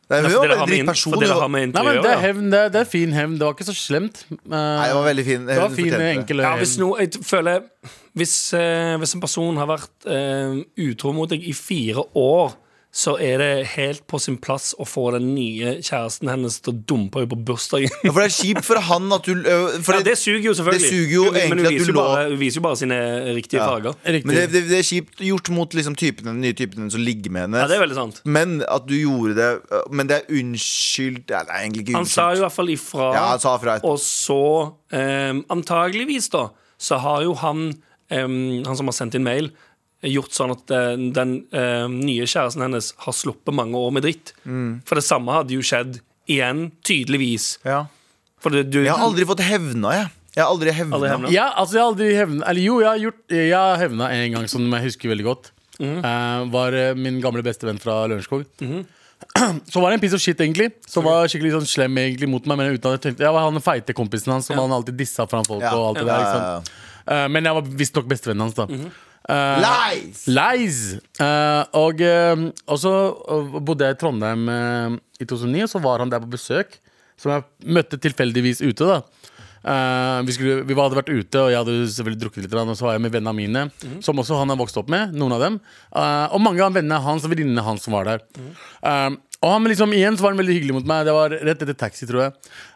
[SPEAKER 2] Nei, men
[SPEAKER 3] Nei,
[SPEAKER 2] hun
[SPEAKER 3] for
[SPEAKER 2] var
[SPEAKER 3] dere har
[SPEAKER 2] veldig
[SPEAKER 3] med inn-
[SPEAKER 2] drittperson.
[SPEAKER 3] for dere
[SPEAKER 2] da.
[SPEAKER 3] har med
[SPEAKER 4] Nei, men
[SPEAKER 3] interiør,
[SPEAKER 4] det er,
[SPEAKER 3] ja.
[SPEAKER 4] hevn, det, er, det er fin hevn. Det var ikke så slemt. Eh,
[SPEAKER 2] Nei, det var veldig fin.
[SPEAKER 4] det var
[SPEAKER 2] Hun
[SPEAKER 4] fin,
[SPEAKER 2] fortjente det.
[SPEAKER 4] enkel
[SPEAKER 3] Ja,
[SPEAKER 4] hevn.
[SPEAKER 3] hvis, no, jeg t- føler, hvis, eh, hvis en person har vært eh, utro mot deg i fire år, så er det helt på sin plass å få den nye kjæresten hennes til å dumpe henne på bursdagen.
[SPEAKER 2] Ja, For det er kjipt for han at du øh, for
[SPEAKER 3] Ja, det suger jo selvfølgelig.
[SPEAKER 2] det suger jo
[SPEAKER 3] Men-
[SPEAKER 2] egentlig
[SPEAKER 3] men
[SPEAKER 2] at
[SPEAKER 3] hun
[SPEAKER 2] du
[SPEAKER 3] viser, jo
[SPEAKER 2] lå-
[SPEAKER 3] bare, hun viser jo bare sine riktige farger.
[SPEAKER 4] Riktig.
[SPEAKER 2] Men det, det, det er kjipt gjort mot liksom, typen, den nye typen hennes som ligger med henne.
[SPEAKER 3] Ja, det er veldig sant.
[SPEAKER 2] Men at du gjorde det øh, Men det er unnskyld ja, Det er egentlig ikke
[SPEAKER 3] Han sa
[SPEAKER 2] unnskyld.
[SPEAKER 3] i hvert fall ifra.
[SPEAKER 2] Ja, han sa fra et-
[SPEAKER 3] Og så, um, antageligvis da, så har jo han, em, han som har sendt inn mail, gjort sånn at den, den em, nye kjæresten hennes har sluppet mange år med dritt.
[SPEAKER 2] Mm.
[SPEAKER 3] For det samme hadde jo skjedd igjen, tydeligvis.
[SPEAKER 2] Ja.
[SPEAKER 3] For det, du,
[SPEAKER 2] Jeg har aldri fått hevna, jeg. Jeg har aldri hevna.
[SPEAKER 3] Aldri hevna.
[SPEAKER 4] Ja, altså jeg har aldri hevna Eller jo, jeg har, gjort, jeg har hevna en gang som jeg husker veldig godt. Eh, var eh, min gamle bestevenn fra Lørenskog. (clears throat) Så var det en piece of shit, egentlig. Som var skikkelig sånn slem egentlig mot meg. Men uten at jeg tenkte Jeg var han feite kompisen hans som han alltid dissa foran folk.
[SPEAKER 2] Ja.
[SPEAKER 4] Og alt det
[SPEAKER 2] Ja,
[SPEAKER 4] der,
[SPEAKER 2] ja,
[SPEAKER 4] ikke
[SPEAKER 2] ja.
[SPEAKER 4] sant? Eh, men jeg var visstnok bestevennen hans, da. Eh,
[SPEAKER 2] Lies!
[SPEAKER 4] Lies! Eh, og, eh, og så eh, bodde jeg i Trondheim eh, i 2009, og så var han der på besøk. Som jeg møtte tilfeldigvis ute, da. Eh, vi, skulle, vi hadde vært ute, og jeg hadde selvfølgelig drukket litt. Og så var jeg med vennene mine, som også han har vokst opp med. Noen av dem Eh, Og mange av vennene hans og venninnene hans som var der. Eh, og han liksom igjen så var han veldig hyggelig mot meg. Det var rett etter taxi, tror jeg.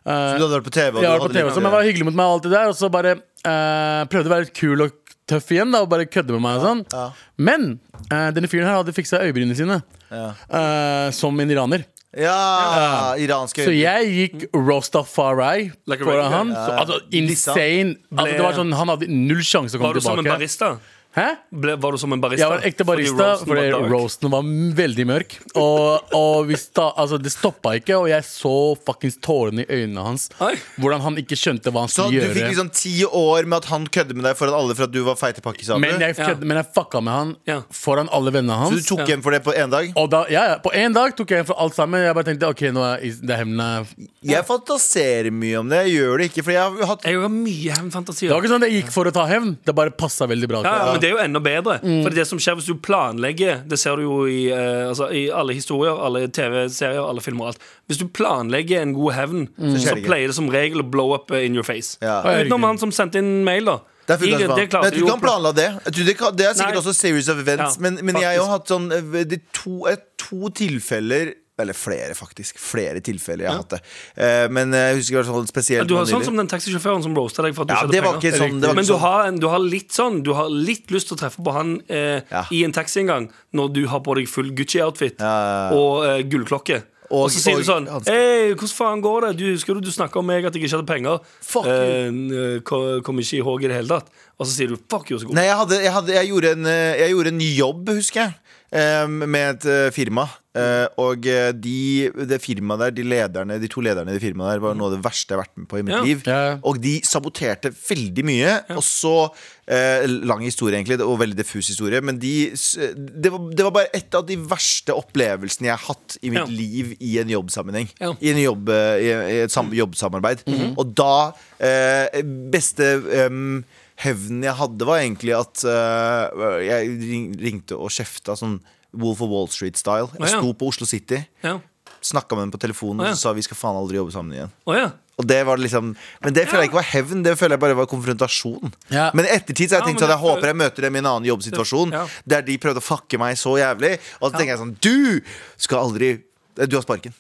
[SPEAKER 4] Eh,
[SPEAKER 2] Du hadde vært på TV. og du
[SPEAKER 4] jeg var på
[SPEAKER 2] hadde
[SPEAKER 4] TV
[SPEAKER 2] litt-
[SPEAKER 4] som jeg var hyggelig mot meg og alt det der Og så bare eh, prøvde å være litt kul og tøff igjen da, Og bare kødde med meg og sånn
[SPEAKER 2] ja.
[SPEAKER 4] Men eh, denne fyren her hadde fikset øyebrynene sine
[SPEAKER 2] Ja.
[SPEAKER 4] eh, Som en iraner
[SPEAKER 2] Ja, iranske
[SPEAKER 4] Så jeg gikk Rastafari
[SPEAKER 3] Like a regular.
[SPEAKER 4] Foran han så, Altså insane altså, det var sånn, Han hadde null sjanse å komme
[SPEAKER 3] var du som en
[SPEAKER 4] tilbake
[SPEAKER 3] barista?
[SPEAKER 4] Hæ?
[SPEAKER 3] Ble, var du som en barista?
[SPEAKER 4] Jeg var ekte barista,
[SPEAKER 3] roasten
[SPEAKER 4] fordi
[SPEAKER 3] var dark.
[SPEAKER 4] roasten var veldig mørk. Og, og vi sta, altså, det stoppa ikke, og jeg så fuckings tårene i øynene hans.
[SPEAKER 3] Oi.
[SPEAKER 4] Hvordan han ikke skjønte hva han
[SPEAKER 2] Så
[SPEAKER 4] skulle
[SPEAKER 2] du
[SPEAKER 4] gjøre.
[SPEAKER 2] fikk liksom ti år med at han kødde med deg foran alle for at du var feitepakke, sa du?
[SPEAKER 4] Men jeg,
[SPEAKER 3] Ja.
[SPEAKER 4] kødde- men jeg fucka med han
[SPEAKER 3] Ja.
[SPEAKER 4] foran alle vennene
[SPEAKER 2] Så
[SPEAKER 4] hans.
[SPEAKER 2] du tok igjen for det på én dag?
[SPEAKER 4] og da, ja, ja, på én dag tok jeg igjen for alt sammen. Jeg bare tenkte ok, nå er is- det er hevnen er-
[SPEAKER 2] Jeg fantaserer mye om det. Jeg gjør det ikke, for jeg har hatt
[SPEAKER 3] Jeg har mye hevnfantasier.
[SPEAKER 4] Det var ikke sånn at jeg gikk for å ta hevn. Det bare passa veldig bra.
[SPEAKER 3] Ja,
[SPEAKER 4] til
[SPEAKER 3] ja,
[SPEAKER 4] det.
[SPEAKER 3] men Det er jo enda bedre.
[SPEAKER 2] Mm.
[SPEAKER 3] For det som skjer hvis du planlegger Det ser du jo i, eh, altså, i alle historier, alle TV-serier, alle filmer og alt. Hvis du planlegger en god hevn,
[SPEAKER 2] Mm. skjer
[SPEAKER 3] så
[SPEAKER 2] det ikke.
[SPEAKER 3] pleier det som regel å blow up eh, in your face.
[SPEAKER 2] Ja.
[SPEAKER 3] Utenom han som sendte inn mail, da.
[SPEAKER 2] Det er fullt
[SPEAKER 3] I-
[SPEAKER 2] av
[SPEAKER 3] det
[SPEAKER 2] faen. Men
[SPEAKER 3] klarte
[SPEAKER 2] Jeg tror
[SPEAKER 3] jo
[SPEAKER 2] ikke han planla det. Jeg tror det, kan, det er sikkert
[SPEAKER 3] Nei.
[SPEAKER 2] også series of events.
[SPEAKER 3] Ja,
[SPEAKER 2] men men jeg har jo
[SPEAKER 3] faktisk.
[SPEAKER 2] hatt sånn eh, de to, eh, to tilfeller eller flere, faktisk. Flere tilfeller jeg har hatt det. Eh, men jeg husker i hvert fall spesielt
[SPEAKER 3] Du har
[SPEAKER 2] noe
[SPEAKER 3] sånn
[SPEAKER 2] nylig.
[SPEAKER 3] som den taxisjåføren som roasta deg for at du
[SPEAKER 2] Ja,
[SPEAKER 3] skjedde
[SPEAKER 2] det var
[SPEAKER 3] penger.
[SPEAKER 2] ikke sånn. Det var
[SPEAKER 3] Men
[SPEAKER 2] ikke
[SPEAKER 3] du
[SPEAKER 2] sånn.
[SPEAKER 3] har, en, du har litt sånn Du har litt lyst til å treffe på han eh,
[SPEAKER 2] Ja.
[SPEAKER 3] i en taxi en gang, når du har på deg full Gucci-outfit
[SPEAKER 2] Ja, ja, ja.
[SPEAKER 3] og eh, gullklokke. Og,
[SPEAKER 2] Og-
[SPEAKER 3] så sier du sånn
[SPEAKER 2] og-
[SPEAKER 3] Hei, hvordan faen går det? Du, husker du du snakka om meg at jeg ikke hadde penger?
[SPEAKER 2] Fuck you.
[SPEAKER 3] eh, ko- Kom ikke i håp i det hele tatt. Og så sier du fuck you, så god.
[SPEAKER 2] Nei, jeg, hadde, jeg, hadde, jeg, gjorde en, eh, jeg gjorde en jobb, husker jeg, eh, med et eh, firma. Eh, Og eh, de, det firmaet der, de, lederne, de to lederne i det firmaet der var noe av det verste jeg har vært med på i mitt
[SPEAKER 3] Mm. Ja.
[SPEAKER 2] liv.
[SPEAKER 4] Ja.
[SPEAKER 2] Og de saboterte veldig mye. Og så eh, Lang historie, egentlig, og veldig diffus historie. Men de, s- det, var, det var bare et av de verste opplevelsene jeg har hatt i mitt
[SPEAKER 3] Ja.
[SPEAKER 2] liv i en jobbsammenheng.
[SPEAKER 3] Ja. Mhm.
[SPEAKER 2] I, en jobb, eh, i, i et sam, jobbsamarbeid. Og da eh, Beste em, hevnen jeg hadde, var egentlig at eh, jeg ring, ringte og kjefta sånn Wolf of Wall Street-style. Jeg
[SPEAKER 3] Å, ja.
[SPEAKER 2] sto på Oslo City,
[SPEAKER 3] Ja.
[SPEAKER 2] snakka med dem på telefonen
[SPEAKER 3] Å, ja.
[SPEAKER 2] og så sa vi skal faen aldri jobbe sammen igjen.
[SPEAKER 3] Å ja.
[SPEAKER 2] Og det var liksom Men det føler jeg ikke var hevn, det føler jeg bare var konfrontasjon.
[SPEAKER 4] Ja.
[SPEAKER 2] Men i ettertid så har
[SPEAKER 3] Ja,
[SPEAKER 2] jeg tenkt
[SPEAKER 3] men
[SPEAKER 2] sånn, jeg
[SPEAKER 3] det
[SPEAKER 2] håper
[SPEAKER 3] føler-
[SPEAKER 2] jeg møter dem i en annen jobbsituasjon,
[SPEAKER 3] Ja.
[SPEAKER 2] der de prøvde å fucke meg så jævlig. Og så tenker jeg sånn Du skal aldri eh, Du har sparken.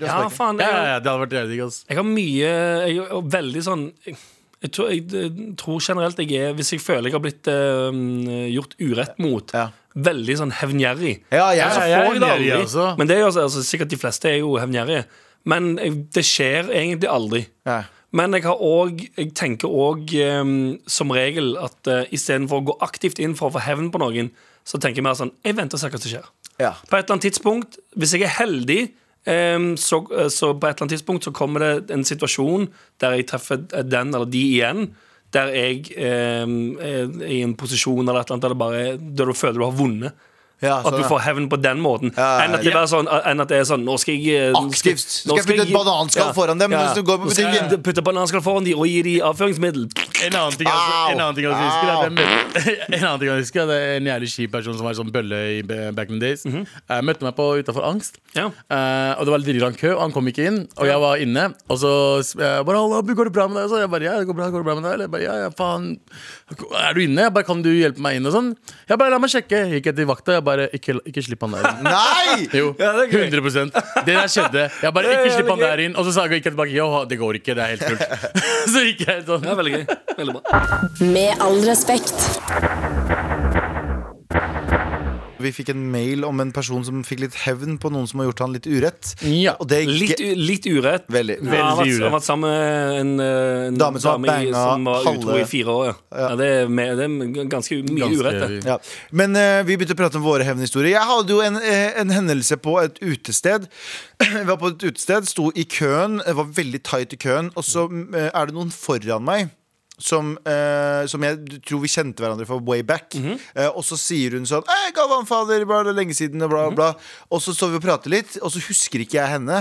[SPEAKER 3] ja, faen.
[SPEAKER 4] ja,
[SPEAKER 3] Jeg,
[SPEAKER 4] ja, ja, det hadde vært jævlig digg. ass.
[SPEAKER 3] Jeg har mye Jeg er veldig sånn jeg, jeg, tror, jeg, eh, tror generelt jeg er Hvis jeg føler jeg har blitt eh, gjort urett mot
[SPEAKER 2] Ja.
[SPEAKER 3] Veldig sånn hevngjerrig
[SPEAKER 2] Ja, jeg-
[SPEAKER 3] Altså,
[SPEAKER 4] jeg er
[SPEAKER 3] får jeg det
[SPEAKER 4] hevngjerrig
[SPEAKER 3] aldri.
[SPEAKER 4] også.
[SPEAKER 3] Men det er jo altså, altså, sikkert de fleste er jo hevngjerrige Men eh, det skjer egentlig aldri
[SPEAKER 2] Nei.
[SPEAKER 3] Men jeg, har også, jeg tenker òg som regel at uh, istedenfor å gå aktivt inn for å få hevn på noen, så tenker jeg mer sånn Jeg venter og ser hva som skjer.
[SPEAKER 2] Ja.
[SPEAKER 3] På et eller annet tidspunkt, hvis jeg er heldig ehm, så, så på et eller annet tidspunkt så kommer det en situasjon der jeg treffer den eller de igjen. Der jeg ehm, er i en posisjon eller et eller annet der, det bare, der du føler du har vunnet.
[SPEAKER 2] Ja,
[SPEAKER 3] at
[SPEAKER 2] sånn,
[SPEAKER 3] du
[SPEAKER 2] ja.
[SPEAKER 3] (laughs) får hevn på den måten.
[SPEAKER 2] Ja, ja,
[SPEAKER 3] enn, at det
[SPEAKER 2] ja.
[SPEAKER 3] er sånn, enn at det er sånn Nå skal jeg eh, nå skal-
[SPEAKER 2] Aktivt. Skal
[SPEAKER 3] nå
[SPEAKER 2] jeg putte et bananskall foran dem mens du går på
[SPEAKER 3] Nå skal jeg
[SPEAKER 2] butikken?
[SPEAKER 3] Putte bananskall foran dem og gi dem avføringsmiddel.
[SPEAKER 4] En annen ting jeg også, en annen ting jeg også husker, er at jeg møtte, (laughs) En annen ting jeg husker er at en jævlig kjip person som var sånn bølle i b- back in the days. eh, møtte meg på utafor Angst.
[SPEAKER 3] Ja.
[SPEAKER 4] Eh, og det var litt lang kø, og han kom ikke inn. Og jeg var inne, og så sp- jeg bare Halla, Abu, går det bra med deg? Så jeg bare Ja, det går bra, går det bra med deg? Eller jeg bare, ja, ja, faen Er du inne? Jeg bare, Kan du hjelpe meg inn? Og sånn. Jeg bare La meg sjekke. Gikk jeg til vakta, jeg bare Ikke, ikke slipp han der inn.
[SPEAKER 2] Nei!
[SPEAKER 4] Jo,
[SPEAKER 3] (laughs) Ja, det er gøy.
[SPEAKER 4] 100 Det der skjedde. Jeg bare
[SPEAKER 3] Ja, ja,
[SPEAKER 4] ikke slipp
[SPEAKER 3] det er
[SPEAKER 4] han der
[SPEAKER 3] gøy.
[SPEAKER 4] inn. Og så sa jeg ikke tilbake. Jo, det går ikke. Det er helt fullt. (laughs) Så gikk jeg sånn.
[SPEAKER 3] Det er veldig gøy. Veldig bra.
[SPEAKER 5] Med all respekt.
[SPEAKER 2] Vi fikk en mail om en person som fikk litt hevn på noen som har gjort han litt urett.
[SPEAKER 4] Ja.
[SPEAKER 2] Og det gikk
[SPEAKER 3] Litt, u- litt urett.
[SPEAKER 2] veldig.
[SPEAKER 3] Ja, han har vært-
[SPEAKER 4] Veldig
[SPEAKER 3] han har vært sammen med en, eh, en
[SPEAKER 2] Dame som har
[SPEAKER 3] i-
[SPEAKER 2] banga
[SPEAKER 3] som var utro
[SPEAKER 2] halve-
[SPEAKER 3] i fire år. Ja. Ja, det, er med, det er ganske mye
[SPEAKER 4] Ganske-
[SPEAKER 3] urett. Det.
[SPEAKER 2] Ja. Men eh, vi begynte å prate om våre hevnhistorier. Jeg hadde jo en, eh, en hendelse på et utested. (clears throat) Jeg var på et utested, sto i køen, jeg var veldig tight i køen, og så mm, eh, er det noen foran meg. Som, eh, som jeg tror vi kjente hverandre fra way back. Eh, og så sier hun sånn Hei, Galvan, fader, bla, det er lenge siden, og bla, bla. Og så står vi og prater litt, og så husker ikke jeg henne.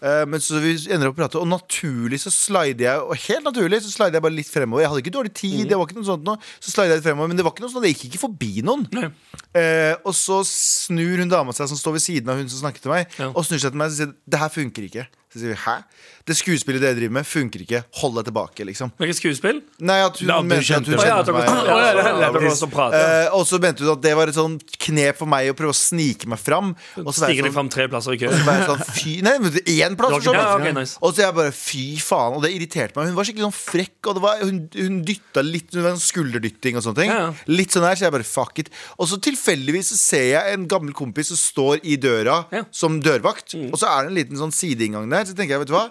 [SPEAKER 2] Eh, men så vi ender opp å prate, og naturlig så slider jeg Og helt naturlig så slider jeg bare litt fremover. Jeg hadde ikke dårlig tid, det var ikke noe sånt nå. Så slider jeg litt fremover, men det var ikke noe sånt, jeg gikk ikke forbi noen. Eh, og så snur hun dama seg som står ved siden av hun som snakket til meg,
[SPEAKER 3] Ja.
[SPEAKER 2] og snur seg til meg og sier det her funker ikke. Så sier vi hæ? Det skuespillet dere driver med, funker ikke. Hold deg tilbake, liksom.
[SPEAKER 3] Hvilket skuespill?
[SPEAKER 2] Nei, at hun
[SPEAKER 4] Ja, du
[SPEAKER 2] mente at
[SPEAKER 4] kjente
[SPEAKER 2] hun
[SPEAKER 3] Å,
[SPEAKER 4] meg.
[SPEAKER 3] ja, at
[SPEAKER 2] kjente
[SPEAKER 3] dere-
[SPEAKER 2] meg.
[SPEAKER 3] Å, ja, det er lett at dere også prater.
[SPEAKER 2] Eh, og så mente hun at det var et sånn knep for meg å prøve å snike meg fram. Og så var
[SPEAKER 3] Stiger
[SPEAKER 2] jeg
[SPEAKER 3] de
[SPEAKER 2] sånn,
[SPEAKER 3] fram tre plasser i kø?
[SPEAKER 2] og så var jeg sånn fy Nei, men det er én plass! for
[SPEAKER 4] Det var ikke
[SPEAKER 2] så
[SPEAKER 3] det,
[SPEAKER 2] vidt.
[SPEAKER 3] ja, ok, nice.
[SPEAKER 2] Og så jeg bare fy faen. Og det irriterte meg. Hun var skikkelig sånn frekk, og det var, hun, hun dytta litt. Hun var en skulderdytting og sånne ting.
[SPEAKER 3] Ja, ja.
[SPEAKER 2] Litt sånn her, så jeg bare fuck it. Og så tilfeldigvis så ser jeg en gammel kompis som står i døra
[SPEAKER 3] Ja. Mm.
[SPEAKER 2] som dørvakt, og så er det en liten sånn sideinngang der. Så tenker jeg, vet du
[SPEAKER 3] (laughs)
[SPEAKER 2] hva,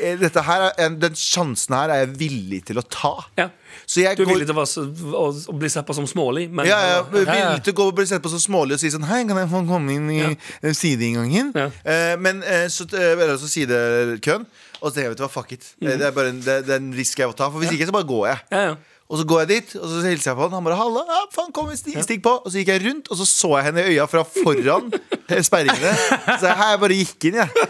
[SPEAKER 2] Eh, dette her er, en- den sjansen her er jeg villig til å ta.
[SPEAKER 3] (laughs) Ja.
[SPEAKER 2] Så jeg
[SPEAKER 3] Du er
[SPEAKER 2] går-
[SPEAKER 3] villig til å, være så- å, å bli sett på som smålig, men
[SPEAKER 2] ja, ja,
[SPEAKER 3] men-
[SPEAKER 2] Ville til å gå og bli sett på som smålig og si sånn Hei, kan jeg få komme inn i
[SPEAKER 3] Ja.
[SPEAKER 2] eh, sideinngangen?
[SPEAKER 3] Ja.
[SPEAKER 2] Eh, men eh, så eh, Eller så sidekøen. Og så tenker jeg, vet du hva, fuck it. Eh, Det er bare en, det, det er en risk jeg må ta. For hvis ikke, så bare går jeg.
[SPEAKER 3] Ja, ja.
[SPEAKER 2] Og så går jeg dit, og så hilser jeg på han. Han bare 'halla', ja, faen, kom, stig, stig på. Og så gikk jeg rundt, og så så jeg henne i øya fra foran eh, sperringene. Så jeg, her, jeg bare gikk inn, jeg.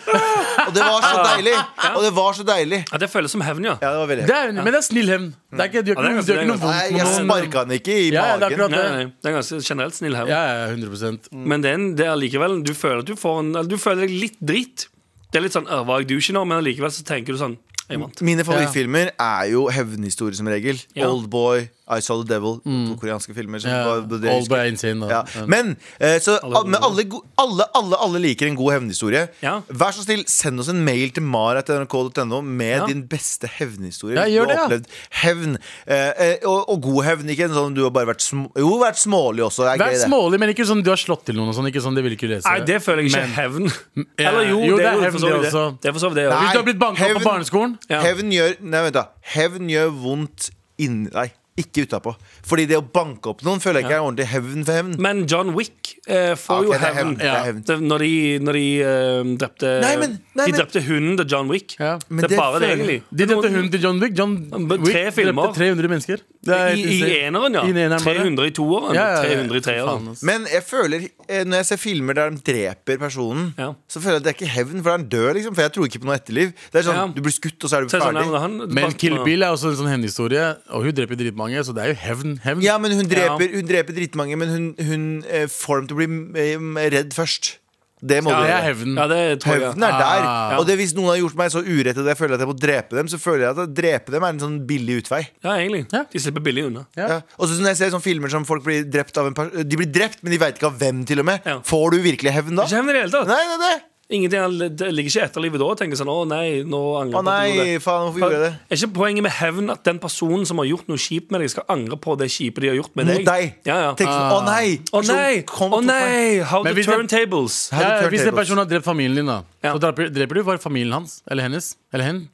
[SPEAKER 2] Og det var så deilig. Og det var så deilig.
[SPEAKER 3] Ja, det føles som hevn, ja.
[SPEAKER 2] Ja, det var veldig
[SPEAKER 4] Det er, men det er snill hevn. Det er ikke, du gjør
[SPEAKER 3] Ja, det er
[SPEAKER 4] ikke noe- du gjør ikke
[SPEAKER 3] ganske-
[SPEAKER 4] noe
[SPEAKER 2] Nei,
[SPEAKER 4] vondt.
[SPEAKER 3] men-
[SPEAKER 2] jeg sparka han ikke i
[SPEAKER 4] Ja, ja, det er
[SPEAKER 2] magen.
[SPEAKER 4] akkurat-
[SPEAKER 3] Nei, nei, det er ganske generelt snill hevn.
[SPEAKER 4] Ja, ja, 100
[SPEAKER 3] Men Mm, det er, en, det er likevel Du føler at du får en eller Du føler deg litt dritt. Det er litt sånn øh, Var jeg douche nå? Men likevel så tenker du sånn Jeg vant.
[SPEAKER 2] Mine favorittfilmer er jo hevnhistorie som regel.
[SPEAKER 3] Ja.
[SPEAKER 2] Oldboy, I Saw The Devil. To koreanske filmer. Som
[SPEAKER 4] Mm. Ja,
[SPEAKER 2] var det jeg
[SPEAKER 4] Oldboy er
[SPEAKER 2] husker.
[SPEAKER 4] insane, da.
[SPEAKER 2] Ja.
[SPEAKER 4] Ja.
[SPEAKER 2] Men, eh, så,
[SPEAKER 3] Alle-
[SPEAKER 2] men alle, go- alle, alle, alle liker en god hevnhistorie.
[SPEAKER 3] Ja.
[SPEAKER 2] Vær så snill, send oss en mail til mara.nrk.no med
[SPEAKER 3] Ja.
[SPEAKER 2] din beste hevnhistorie.
[SPEAKER 4] Ja,
[SPEAKER 2] hvis
[SPEAKER 4] gjør
[SPEAKER 2] du har opplevd
[SPEAKER 4] det,
[SPEAKER 2] hevn. Eh, eh, og, og god hevn, ikke en sånn du har bare vært sm Jo, vært smålig også. Det er
[SPEAKER 4] Vær
[SPEAKER 2] gøy, det.
[SPEAKER 4] smålig, men ikke sånn du har slått til noen og sånn. Ikke sånn, det vil ikke lese.
[SPEAKER 3] Nei, det føler jeg ikke er hevn. Eller jo,
[SPEAKER 4] Jo,
[SPEAKER 3] det er
[SPEAKER 4] hevn,
[SPEAKER 3] jo for så vidt
[SPEAKER 4] det
[SPEAKER 3] det.
[SPEAKER 4] også.
[SPEAKER 3] Det er for så vidt det også.
[SPEAKER 4] Hvis du har blitt banket opp på
[SPEAKER 2] hevn-
[SPEAKER 4] barneskolen?
[SPEAKER 3] Ja.
[SPEAKER 2] Hevn gjør Nei, vent da Hevn gjør vondt inni Nei, ikke utapå Fordi det å banke opp noen Føler jeg ikke er ordentlig hevn for hevn
[SPEAKER 3] Men John Wick eh,
[SPEAKER 2] Ja, Ah,
[SPEAKER 3] får
[SPEAKER 2] ok,
[SPEAKER 3] jo
[SPEAKER 2] det er
[SPEAKER 3] hevn.
[SPEAKER 2] hevn, det er hevn.
[SPEAKER 3] Det- Når de, når de eh, drepte
[SPEAKER 2] Nei, men- nei,
[SPEAKER 3] De
[SPEAKER 2] men-
[SPEAKER 3] drepte hunden til John Wick.
[SPEAKER 4] Ja.
[SPEAKER 2] Men
[SPEAKER 3] Det er
[SPEAKER 2] det
[SPEAKER 3] bare det,
[SPEAKER 2] føler-
[SPEAKER 3] egentlig.
[SPEAKER 4] De drepte hunden til John Wick. John
[SPEAKER 3] Tre
[SPEAKER 4] Wick
[SPEAKER 3] filmer.
[SPEAKER 4] drepte 300 mennesker. Det er
[SPEAKER 3] I,
[SPEAKER 4] helt
[SPEAKER 3] I
[SPEAKER 4] insane.
[SPEAKER 3] eneren, ja.
[SPEAKER 4] I eneren bare.
[SPEAKER 3] 300 i toeren.
[SPEAKER 4] Ja, ja, ja.
[SPEAKER 3] 300 i treeren.
[SPEAKER 4] Faen, altså. ass.
[SPEAKER 2] Men jeg føler eh, Når jeg ser filmer der de dreper personen
[SPEAKER 3] Ja.
[SPEAKER 2] Så føler jeg at det er ikke hevn For han dør liksom For jeg tror ikke på noe etterliv Det er sånn
[SPEAKER 3] Ja.
[SPEAKER 2] Du blir skutt og så er du
[SPEAKER 3] Så er det sånn,
[SPEAKER 2] ferdig
[SPEAKER 3] ja, men han-
[SPEAKER 4] Men
[SPEAKER 3] bare-
[SPEAKER 4] Kill Bill er også en sånn hevnhistorie, og hun dreper dritmange, så det er jo hevn. hevn.
[SPEAKER 2] Ja, men hun dreper, hun dreper dritmange Men hun, hun eh, får dem til å bli eh, redd først Det må
[SPEAKER 3] Ja,
[SPEAKER 2] du
[SPEAKER 4] Det
[SPEAKER 2] gjøre
[SPEAKER 4] er hevn.
[SPEAKER 3] Ja, det tror jeg.
[SPEAKER 2] Hevnen er der.
[SPEAKER 4] Ah.
[SPEAKER 2] Og det hvis noen har gjort meg så urett at jeg føler at jeg må drepe dem, så føler jeg at å drepe dem er en sånn billig utvei.
[SPEAKER 3] Ja, egentlig.
[SPEAKER 4] Ja.
[SPEAKER 3] De slipper billig unna.
[SPEAKER 4] Ja.
[SPEAKER 2] Ja. Og så når jeg ser sånne filmer som folk blir drept av en person De blir drept, men de veit ikke av hvem, til og med.
[SPEAKER 3] Ja.
[SPEAKER 2] Får du virkelig hevn da?
[SPEAKER 3] Ikke hevn i det hele tatt.
[SPEAKER 2] Nei, nei, nei.
[SPEAKER 3] Ingenting er- det ligger ikke i etterlivet da og tenker sånn 'Å nei, nå
[SPEAKER 2] Å
[SPEAKER 3] angrer jeg på at jeg gjorde
[SPEAKER 2] nei,
[SPEAKER 3] det'.
[SPEAKER 2] faen, hvorfor gjorde jeg det?
[SPEAKER 3] Er ikke poenget med hevn at den personen som har gjort noe kjipt med deg, skal angre på det kjipe de har gjort med
[SPEAKER 2] Mot
[SPEAKER 3] deg?
[SPEAKER 2] deg.
[SPEAKER 3] Ja, ja.
[SPEAKER 2] Tenk sånn, å nei!
[SPEAKER 3] Å nei!
[SPEAKER 2] Person, kom
[SPEAKER 3] Å
[SPEAKER 2] og tok meg.
[SPEAKER 3] nei! How
[SPEAKER 4] Men
[SPEAKER 3] to
[SPEAKER 4] hvis det-
[SPEAKER 3] turn tables.
[SPEAKER 2] Her er
[SPEAKER 4] Ja,
[SPEAKER 2] turn
[SPEAKER 4] hvis en
[SPEAKER 2] tables.
[SPEAKER 4] person har drept familien din, da,
[SPEAKER 3] Ja.
[SPEAKER 4] så dreper, dreper du bare familien hans eller hennes. Eller hen.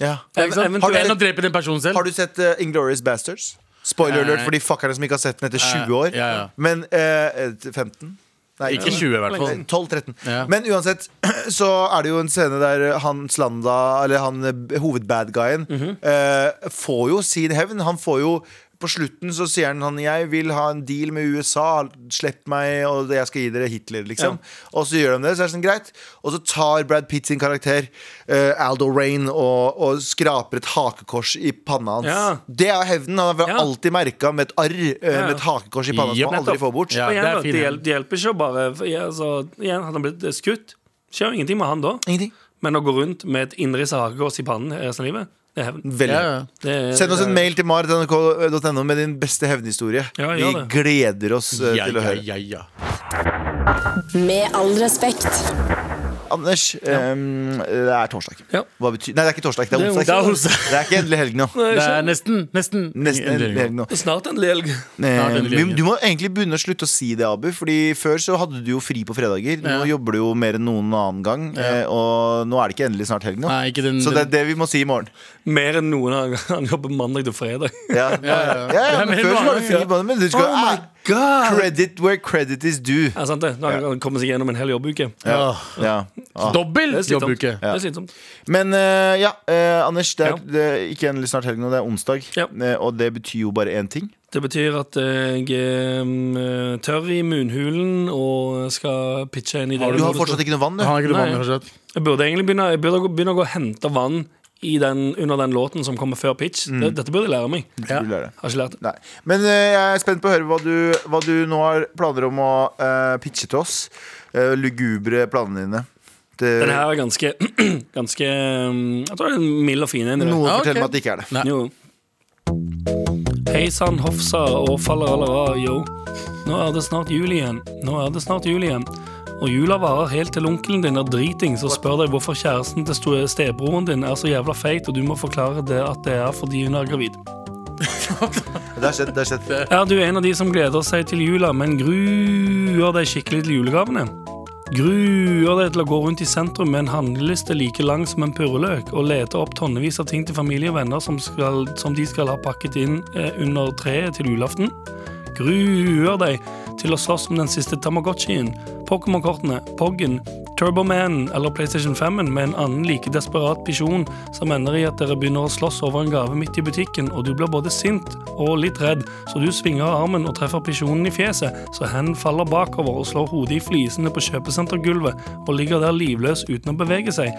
[SPEAKER 2] Ja.
[SPEAKER 3] Ja,
[SPEAKER 4] Ikke sant?
[SPEAKER 3] eventuelt-
[SPEAKER 4] Enn å drepe den personen selv.
[SPEAKER 2] Har du sett uh, Inglorious Bastards? Spoiler
[SPEAKER 3] Eh.
[SPEAKER 2] alert for de fuckerne som ikke har sett den etter 20 år.
[SPEAKER 4] ja, ja.
[SPEAKER 2] Men eh, 15? Nei,
[SPEAKER 4] Ikke 20, i hvert fall.
[SPEAKER 2] 12-13.
[SPEAKER 4] Ja.
[SPEAKER 2] Men uansett (clears throat) så er det jo en scene der Hans
[SPEAKER 4] Mhm.
[SPEAKER 2] Landa, eller han eh, hovedbadguyen, eh, får jo sin hevn. Han får jo på slutten så sier han sånn Jeg vil ha en deal med USA, slipp meg, og jeg skal gi dere Hitler, liksom. Og så gjør de det, så er det sånn greit. Og så tar Brad Pitt sin karakter, eh, Aldo Rain, og, og skraper et hakekors i panna hans.
[SPEAKER 3] Ja.
[SPEAKER 2] Det er hevnen. Han har
[SPEAKER 3] Ja.
[SPEAKER 2] alltid merka med et arr, eh,
[SPEAKER 3] Ja.
[SPEAKER 2] med et hakekors i panna som
[SPEAKER 4] Jep,
[SPEAKER 2] han aldri får
[SPEAKER 3] nettopp.
[SPEAKER 2] bort.
[SPEAKER 4] Ja,
[SPEAKER 3] og igjen,
[SPEAKER 4] det er
[SPEAKER 3] da,
[SPEAKER 4] fin
[SPEAKER 3] det,
[SPEAKER 4] hevn.
[SPEAKER 3] hjel- det hjelper ikke å bare ja, altså, igjen, Hadde han blitt eh, skutt, skjer jo ingenting med han da.
[SPEAKER 2] Ingenting.
[SPEAKER 3] Men å gå rundt med et innrissa hakekors i pannen resten av livet, det er hevn.
[SPEAKER 2] Veldig.
[SPEAKER 4] Ja, ja.
[SPEAKER 3] Det er-
[SPEAKER 2] Send oss en mail til mar.nrk.no med din beste hevnhistorie.
[SPEAKER 3] Ja,
[SPEAKER 2] Vi
[SPEAKER 3] gjør det.
[SPEAKER 2] gleder oss eh,
[SPEAKER 4] Ja,
[SPEAKER 2] til å
[SPEAKER 4] ja,
[SPEAKER 2] høre.
[SPEAKER 4] ja, ja.
[SPEAKER 5] Med all respekt.
[SPEAKER 2] Anders, ehm, det er torsdag.
[SPEAKER 3] Ja.
[SPEAKER 2] Hva betyr Nei, det er ikke torsdag. Det er
[SPEAKER 3] Det er
[SPEAKER 2] onsdag.
[SPEAKER 3] onsdag. Det er onsdag.
[SPEAKER 2] Det er ikke endelig helg nå.
[SPEAKER 3] Nei,
[SPEAKER 4] Det er
[SPEAKER 3] ikke-
[SPEAKER 4] nesten, nesten,
[SPEAKER 2] Nesten endelig helg nå.
[SPEAKER 3] Snart en lel.
[SPEAKER 2] Eh,
[SPEAKER 4] endelig
[SPEAKER 2] vi-
[SPEAKER 4] helg.
[SPEAKER 2] Du må egentlig begynne å slutte å si det, Abu. Fordi Før så hadde du jo fri på fredager. Nå
[SPEAKER 4] Ja.
[SPEAKER 2] jobber du jo mer enn noen annen gang. eh, Og nå er det ikke endelig snart helg nå.
[SPEAKER 4] Nei, ikke den,
[SPEAKER 2] Så det er det vi må si i morgen.
[SPEAKER 3] Mer enn noen av Han jobber mandag til fredag.
[SPEAKER 2] Ja, ja, ja.
[SPEAKER 4] Det er
[SPEAKER 2] men
[SPEAKER 4] mer
[SPEAKER 2] Før så var det
[SPEAKER 4] vanlig,
[SPEAKER 2] fri,
[SPEAKER 4] ja.
[SPEAKER 2] på det, men du skal
[SPEAKER 3] Oh my
[SPEAKER 2] eh, Credit where credit is due.
[SPEAKER 3] Er sant det? Nå har han kommet seg gjennom en hel jobbuke.
[SPEAKER 4] Ja.
[SPEAKER 2] Ja. Ah.
[SPEAKER 4] Dobbel
[SPEAKER 3] Det er slitsomt.
[SPEAKER 4] jobbuke.
[SPEAKER 3] Det er slitsomt.
[SPEAKER 2] Men eh, ja, eh, Anders, det er,
[SPEAKER 3] Ja.
[SPEAKER 2] det er ikke endelig snart helg nå, det er onsdag.
[SPEAKER 3] Ja.
[SPEAKER 2] Eh, og det betyr jo bare én ting.
[SPEAKER 3] Det betyr at eh, jeg er tørr i munhulen og skal pitche en idé.
[SPEAKER 2] Du har fortsatt ikke noe vann, du.
[SPEAKER 4] Han er ikke noe
[SPEAKER 3] Nei.
[SPEAKER 4] vanlig fortsatt.
[SPEAKER 3] Jeg burde egentlig begynne, jeg burde gå- begynne å gå og hente vann i den, under den låten som kommer før pitch. Det, Mm. dette burde jeg lære meg.
[SPEAKER 2] Du vil gjøre det.
[SPEAKER 3] Har ikke lært det.
[SPEAKER 2] Nei. Men eh, jeg er spent på å høre hva du, hva du nå har planer om å eh, pitche til oss. Eh, lugubre planene dine. Det,
[SPEAKER 3] Den her er ganske, (clears throat) ganske um, Jeg tror det er en mild og fin en. i det.
[SPEAKER 2] noen
[SPEAKER 4] Ja, ok.
[SPEAKER 2] forteller meg at det ikke er det.
[SPEAKER 4] Nei.
[SPEAKER 3] Jo. Hei sann, hofsa og fallerallera, yo. Nå er det snart jul igjen. Nå er det snart jul igjen. Og jula varer helt til onkelen din er dritings og spør deg hvorfor kjæresten til sto- stebroren din er så jævla feit, og du må forklare det at det er fordi hun er gravid.
[SPEAKER 2] Det har skjedd. Det har skjedd.
[SPEAKER 3] Er du en av de som gleder seg til jula, men gruer deg skikkelig til julegavene? Gruer deg til å gå rundt i sentrum med en handleliste like lang som en purreløk og lete opp tonnevis av ting til familie og venner som, skal, som de skal ha pakket inn eh, under treet til julaften? Gruer deg til å slåss om den siste Tamagotchien, Pokémon-kortene, Poggen, Turbomanen eller PlayStation 5-en med en annen like desperat pisjon som ender i at dere begynner å slåss over en gave midt i butikken, og du blir både sint og litt redd, så du svinger armen og treffer pisjonen i fjeset, så hen faller bakover og slår hodet i flisene på kjøpesentergulvet og ligger der livløs uten å bevege seg.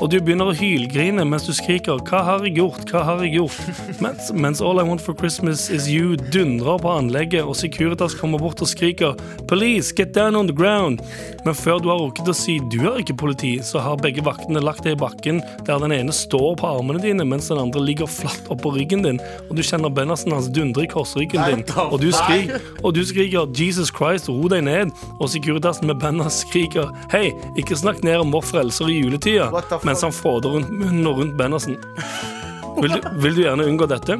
[SPEAKER 3] Og du begynner å hylgrine mens du skriker 'Hva har jeg gjort? Hva har jeg gjort?' Mens, mens 'All I want for Christmas is you' dundrer på anlegget, og Securitas kommer bort og skriker 'Police, get down on the ground'. Men før du har rukket å si 'du er ikke politi', så har begge vaktene lagt deg i bakken, der den ene står på armene dine, mens den andre ligger flatt oppå ryggen din, og du kjenner bennersen hans dundre i korsryggen din, og du skriker og du skriker 'Jesus Christ, ro deg ned', og Securitasen med Benners skriker 'Hei, ikke snakk ned om vår frelser i juletida',
[SPEAKER 2] What the fuck?
[SPEAKER 3] mens han fråder rundt munnen og rundt Bennersen. Vil du, vil du gjerne unngå dette?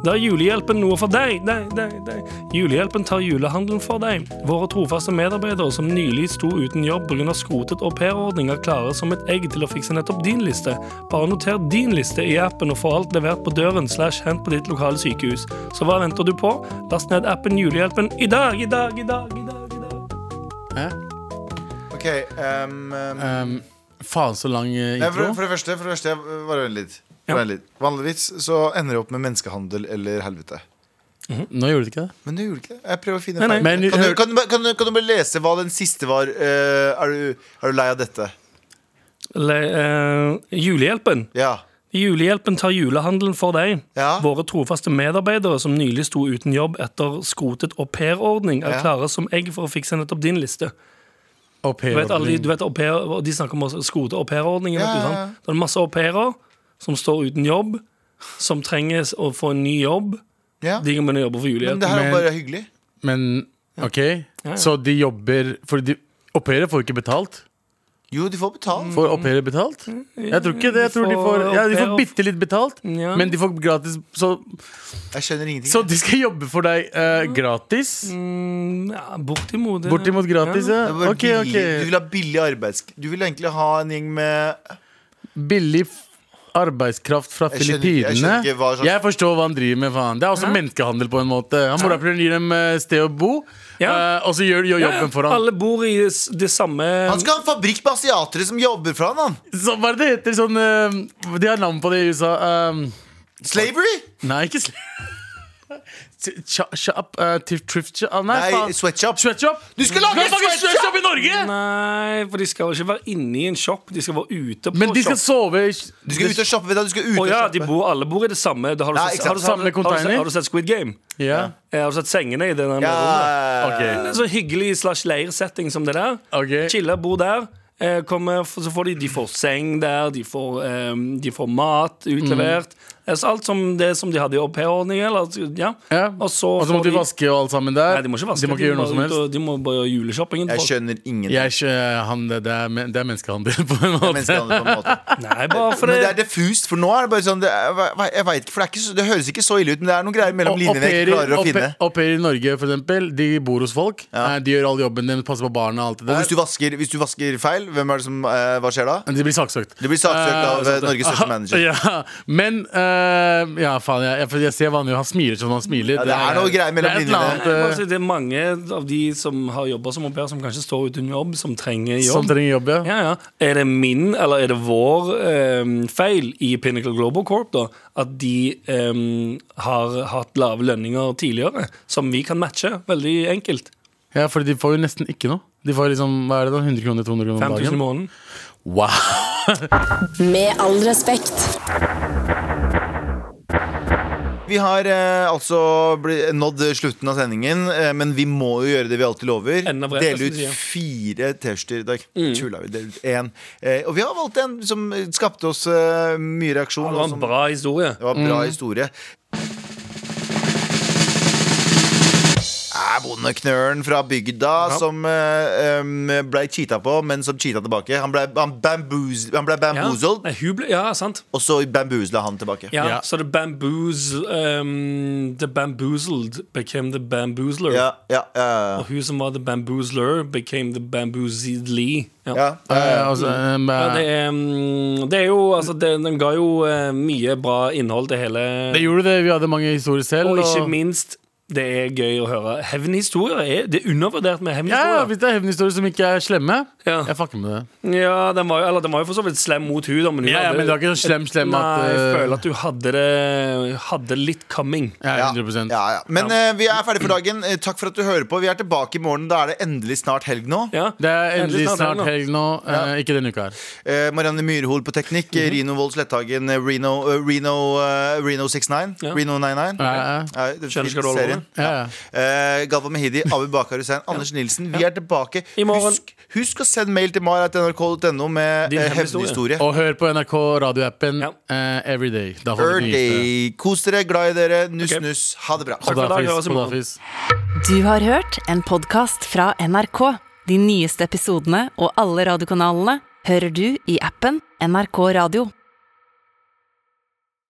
[SPEAKER 3] Da er julehjelpen noe for deg, deg, deg, deg. Julehjelpen tar julehandelen for deg. Våre trofaste medarbeidere som nylig sto uten jobb pga. skrotet aupairordning, er klare som et egg til å fikse nettopp din liste. Bare noter din liste i appen og få alt levert på døren slash hent på ditt lokale sykehus. Så hva venter du på? Last ned appen Julehjelpen i dag, i dag, i dag, i dag. i dag.
[SPEAKER 4] Hæ?
[SPEAKER 2] Ok, ehm, ehm,
[SPEAKER 4] Ehm, faen, så lang eh,
[SPEAKER 2] nei, for,
[SPEAKER 4] intro.
[SPEAKER 2] for det første, for det første eh, bare vent litt.
[SPEAKER 3] Ja.
[SPEAKER 2] Bare vent litt. Vanligvis så ender det opp med menneskehandel eller helvete.
[SPEAKER 4] Nå gjorde du ikke det.
[SPEAKER 2] Men du gjorde ikke det. Jeg prøver å finne
[SPEAKER 3] Nei, nei.
[SPEAKER 2] feil. Kan,
[SPEAKER 4] Men
[SPEAKER 2] du-
[SPEAKER 4] hør-
[SPEAKER 2] kan, du bare- kan, du- kan du bare lese hva den siste var? Eh, er, du, er du lei av dette?
[SPEAKER 3] Le, eh, julehjelpen.
[SPEAKER 2] Ja.
[SPEAKER 3] Julehjelpen tar julehandelen for deg.
[SPEAKER 2] Ja.
[SPEAKER 3] Våre trofaste medarbeidere som nylig sto uten jobb etter skrotet aupairordning, er
[SPEAKER 2] Ja.
[SPEAKER 3] klare som egg for å fikse nettopp din liste.
[SPEAKER 4] Au pair-
[SPEAKER 3] Du vet, alle, de- du vet au pair, og De snakker om å skrote aupairordningen.
[SPEAKER 2] Ja,
[SPEAKER 3] vet du,
[SPEAKER 2] ja,
[SPEAKER 3] sant? Det er masse au pairer som står uten jobb, som trenger å få en ny jobb.
[SPEAKER 2] ja.
[SPEAKER 3] De kan begynne å jobbe for
[SPEAKER 2] Men det
[SPEAKER 3] julehjelp.
[SPEAKER 2] her er
[SPEAKER 4] men-
[SPEAKER 2] jo bare hyggelig.
[SPEAKER 4] Men OK, så de jobber For de, au pairer får ikke betalt.
[SPEAKER 2] Jo, de får
[SPEAKER 3] Mm.
[SPEAKER 2] betalt.
[SPEAKER 4] Får au pairer betalt? Jeg tror ikke det. Jeg tror de får,
[SPEAKER 3] får
[SPEAKER 4] ja, de
[SPEAKER 3] au
[SPEAKER 4] får
[SPEAKER 3] pair-
[SPEAKER 4] bitte litt betalt,
[SPEAKER 3] Ja.
[SPEAKER 4] men de får gratis. Så,
[SPEAKER 2] Jeg skjønner ingenting.
[SPEAKER 4] så de skal jobbe for deg eh, gratis?
[SPEAKER 3] Mm, ja, bortimot. det-
[SPEAKER 4] Bortimot gratis,
[SPEAKER 3] Ja.
[SPEAKER 4] ja.
[SPEAKER 2] Det er bare
[SPEAKER 4] OK,
[SPEAKER 2] billig. Du
[SPEAKER 4] ok.
[SPEAKER 2] vil ha billig arbeids... Du vil egentlig ha en gjeng med
[SPEAKER 4] Billig f- arbeidskraft fra
[SPEAKER 2] Jeg skjønner ikke- jeg skjønner
[SPEAKER 4] Filippinene.
[SPEAKER 2] ikke hva slags-
[SPEAKER 4] Jeg forstår hva han driver med, faen. Det er også menneskehandel, på en måte. Han morapuleren gir dem eh, sted å bo,
[SPEAKER 3] Ja.
[SPEAKER 4] eh, og så gjør de jo
[SPEAKER 3] Ja,
[SPEAKER 4] jobben for ham.
[SPEAKER 3] Alle bor i s- det samme
[SPEAKER 2] Han skal ha en fabrikk med asiatere som jobber for han, han!
[SPEAKER 4] Så hva er det det heter sånn eh, De har navn på det i USA. eh,
[SPEAKER 2] Slavery!
[SPEAKER 4] nei, ikke sl Shop uh, Shop Nei,
[SPEAKER 2] Nei,
[SPEAKER 4] faen.
[SPEAKER 2] sweatshop.
[SPEAKER 4] Sweatshop.
[SPEAKER 2] Du skal lage
[SPEAKER 4] en
[SPEAKER 2] sweatshop!
[SPEAKER 4] sweatshop i Norge!
[SPEAKER 3] Nei, for de skal vel ikke være inne i en shop. De skal være ute på
[SPEAKER 4] Men de skal
[SPEAKER 3] shop.
[SPEAKER 4] sove i
[SPEAKER 2] Du skal ut og shoppe. Vet du, du skal ut
[SPEAKER 3] Å
[SPEAKER 2] og
[SPEAKER 3] ja, de
[SPEAKER 2] shoppe.
[SPEAKER 3] bor, alle bor i det samme. Da Har du,
[SPEAKER 2] Ja,
[SPEAKER 3] sett,
[SPEAKER 2] ikke
[SPEAKER 3] har du,
[SPEAKER 2] sant.
[SPEAKER 3] Har
[SPEAKER 4] Samme
[SPEAKER 3] du, har du,
[SPEAKER 4] container.
[SPEAKER 3] har du sett Squid Game?
[SPEAKER 4] Ja.
[SPEAKER 3] Eh, Har du sett sengene i den der
[SPEAKER 2] Ja,
[SPEAKER 3] rommet?
[SPEAKER 4] Ok.
[SPEAKER 3] En sånn hyggelig slash leirsetting som det der.
[SPEAKER 4] Ok.
[SPEAKER 3] Chille, bo der. Eh, kommer, f- så får de, de får seng der, de får, eh, de får mat utlevert.
[SPEAKER 4] Mhm.
[SPEAKER 3] Eh, Så alt som det som de hadde i aupairordning. eller- altså, Ja.
[SPEAKER 4] Ja.
[SPEAKER 3] Og så
[SPEAKER 4] Og så må
[SPEAKER 3] får
[SPEAKER 4] de vaske og alt sammen der.
[SPEAKER 3] Nei, de må ikke vaske.
[SPEAKER 4] De må ikke gjøre
[SPEAKER 3] må
[SPEAKER 4] noe som
[SPEAKER 3] ut
[SPEAKER 4] helst.
[SPEAKER 3] og- De må bare gjøre juleshoppingen.
[SPEAKER 2] Jeg
[SPEAKER 3] Folk-
[SPEAKER 2] skjønner ingenting.
[SPEAKER 4] Jeg, er ikke- eh, han, det, det, er, men- det er menneskehandel, på en måte.
[SPEAKER 2] Menneskehandel, på en måte.
[SPEAKER 3] Nei, bare for
[SPEAKER 2] Men det er
[SPEAKER 3] det.
[SPEAKER 2] diffust, for nå er det bare sånn det, er- jeg, jeg vet ikke, for det, er ikke, så- det høres ikke så ille ut, men det er noen greier mellom
[SPEAKER 4] Og au
[SPEAKER 2] linjene jeg ikke
[SPEAKER 4] pairer-
[SPEAKER 2] klarer å
[SPEAKER 4] au pa-
[SPEAKER 2] finne.
[SPEAKER 4] au pairer i Norge, for eksempel, de bor hos folk.
[SPEAKER 2] Ja.
[SPEAKER 4] Eh, De gjør all jobben deres, passer på barna og alt det
[SPEAKER 2] Og hvis du
[SPEAKER 4] der.
[SPEAKER 2] vasker, hvis du vasker feil, hvem er det som, eh, hva skjer da?
[SPEAKER 4] Men De blir saksøkt.
[SPEAKER 2] Du blir saksøkt
[SPEAKER 4] Eh,
[SPEAKER 2] av eh, Norges største manager.
[SPEAKER 4] (laughs) Ja, men eh, Ja, faen, jeg, jeg, jeg ser vanlig han smiler som han
[SPEAKER 2] Ja,
[SPEAKER 4] smiler.
[SPEAKER 2] det er noe greier mellom
[SPEAKER 4] det er et eller
[SPEAKER 2] linjene.
[SPEAKER 3] Nei,
[SPEAKER 4] annet,
[SPEAKER 3] bare
[SPEAKER 4] eh,
[SPEAKER 3] si Det er mange av de som har jobber som au pair, som kanskje står uten jobb, som trenger jobb.
[SPEAKER 4] Som trenger jobb, ja.
[SPEAKER 3] Ja, ja. Er det min eller er det vår ehm, feil i Pinnacle Global Corp da, at de ehm, har hatt lave lønninger tidligere, som vi kan matche veldig enkelt?
[SPEAKER 4] ja. For de får jo nesten ikke noe. De får liksom, hva er det da, 100 kroner, 200 kroner om
[SPEAKER 3] 5000 i
[SPEAKER 4] dagen?
[SPEAKER 3] måneden.
[SPEAKER 4] Wow!
[SPEAKER 5] Med all respekt.
[SPEAKER 2] Vi har eh, altså bli- nådd slutten av sendingen, eh, men vi må jo gjøre det vi alltid lover.
[SPEAKER 3] Enden av brettet,
[SPEAKER 2] Dele ut
[SPEAKER 3] som de sier. Mm.
[SPEAKER 2] fire T-skjorter i dag. Tulla, vi deler ut én. Eh, og vi har valgt en som skapte oss eh, mye reaksjon. og
[SPEAKER 3] Det var en
[SPEAKER 2] som,
[SPEAKER 3] bra historie.
[SPEAKER 2] det var en bra historie. Er bondeknøren fra bygda som eh, em, ble cheata på, men som cheata tilbake. Han ble, han bamboos, han ble
[SPEAKER 3] Ja.
[SPEAKER 2] bamboozled,
[SPEAKER 3] Nei, hun ble, ja, sant.
[SPEAKER 2] og så bamboozla han tilbake.
[SPEAKER 3] Ja,
[SPEAKER 4] Ja.
[SPEAKER 3] Så the, bamboozle, ehm, the bamboozled became the bamboozler.
[SPEAKER 2] Ja, ja, ja, ja.
[SPEAKER 3] Og hun som var the bamboozler, became the bamboozedly.
[SPEAKER 2] ja,
[SPEAKER 3] Ja.
[SPEAKER 2] ja, ja.
[SPEAKER 4] Eh, altså, eh,
[SPEAKER 3] Ja, det, er, mm, det er jo Altså, det, den ga jo eh, mye bra innhold til hele
[SPEAKER 4] det gjorde det. Vi hadde mange historier selv.
[SPEAKER 3] Og ikke
[SPEAKER 4] og-
[SPEAKER 3] minst, det er gøy å høre. Hevnhistorier er Det er undervurdert med
[SPEAKER 4] Ja, ja,
[SPEAKER 3] hevnhistorier.
[SPEAKER 4] Hvis det er hevnhistorier som ikke er slemme,
[SPEAKER 3] Ja.
[SPEAKER 4] jeg fucker med det.
[SPEAKER 3] Ja, den var, jo- eller, den var jo for så vidt slem mot hun da, men hun
[SPEAKER 4] Ja, ja,
[SPEAKER 3] hadde-
[SPEAKER 4] men det var ikke så slem, slem at,
[SPEAKER 3] Nei, jeg
[SPEAKER 4] eh,
[SPEAKER 3] føler at du hadde det Hadde litt coming.
[SPEAKER 4] Jeg er 100
[SPEAKER 2] Ja, ja. Men eh, vi er ferdige for dagen. Eh, takk for at du hører på. Vi er tilbake i morgen. Da er det endelig snart helg nå.
[SPEAKER 3] Ja.
[SPEAKER 4] Det er endelig
[SPEAKER 3] helg
[SPEAKER 4] snart
[SPEAKER 3] nå.
[SPEAKER 4] helg nå. eh, ikke denne uka her.
[SPEAKER 2] Eh, Marianne Myrhol på teknikk.
[SPEAKER 3] Mhm.
[SPEAKER 2] eh, Rino Wold Sletthagen. eh, Reno, eh, Reno, eh, Reno 69.
[SPEAKER 3] Ja.
[SPEAKER 2] Reno 99.
[SPEAKER 4] Ja, ja.
[SPEAKER 2] Nei, det er
[SPEAKER 3] Skjønner skal du holde
[SPEAKER 2] serien.
[SPEAKER 4] Ja, ja.
[SPEAKER 2] Eh, Galva Mehidi, Abu Bakar
[SPEAKER 3] (laughs)
[SPEAKER 2] Hussein, Anders Nilsen. Vi er tilbake.
[SPEAKER 3] I morgen.
[SPEAKER 2] Husk, husk å sende mail til mar.nrk.no med
[SPEAKER 3] Din
[SPEAKER 2] eh, hevnhistorie.
[SPEAKER 3] hevnhistorie.
[SPEAKER 4] Og hør på NRK radioappen
[SPEAKER 3] Ja.
[SPEAKER 4] eh, every day. Da får du nyheter.
[SPEAKER 2] Everyday. Kos dere, glad i dere. Nuss,
[SPEAKER 3] Ok.
[SPEAKER 2] nuss. Ha det bra.
[SPEAKER 3] for i dag,
[SPEAKER 4] Kodafis,
[SPEAKER 3] høres i morgen.
[SPEAKER 4] kodafis.
[SPEAKER 1] Du har hørt en podkast fra NRK. De nyeste episodene og alle radiokanalene hører du i appen NRK Radio.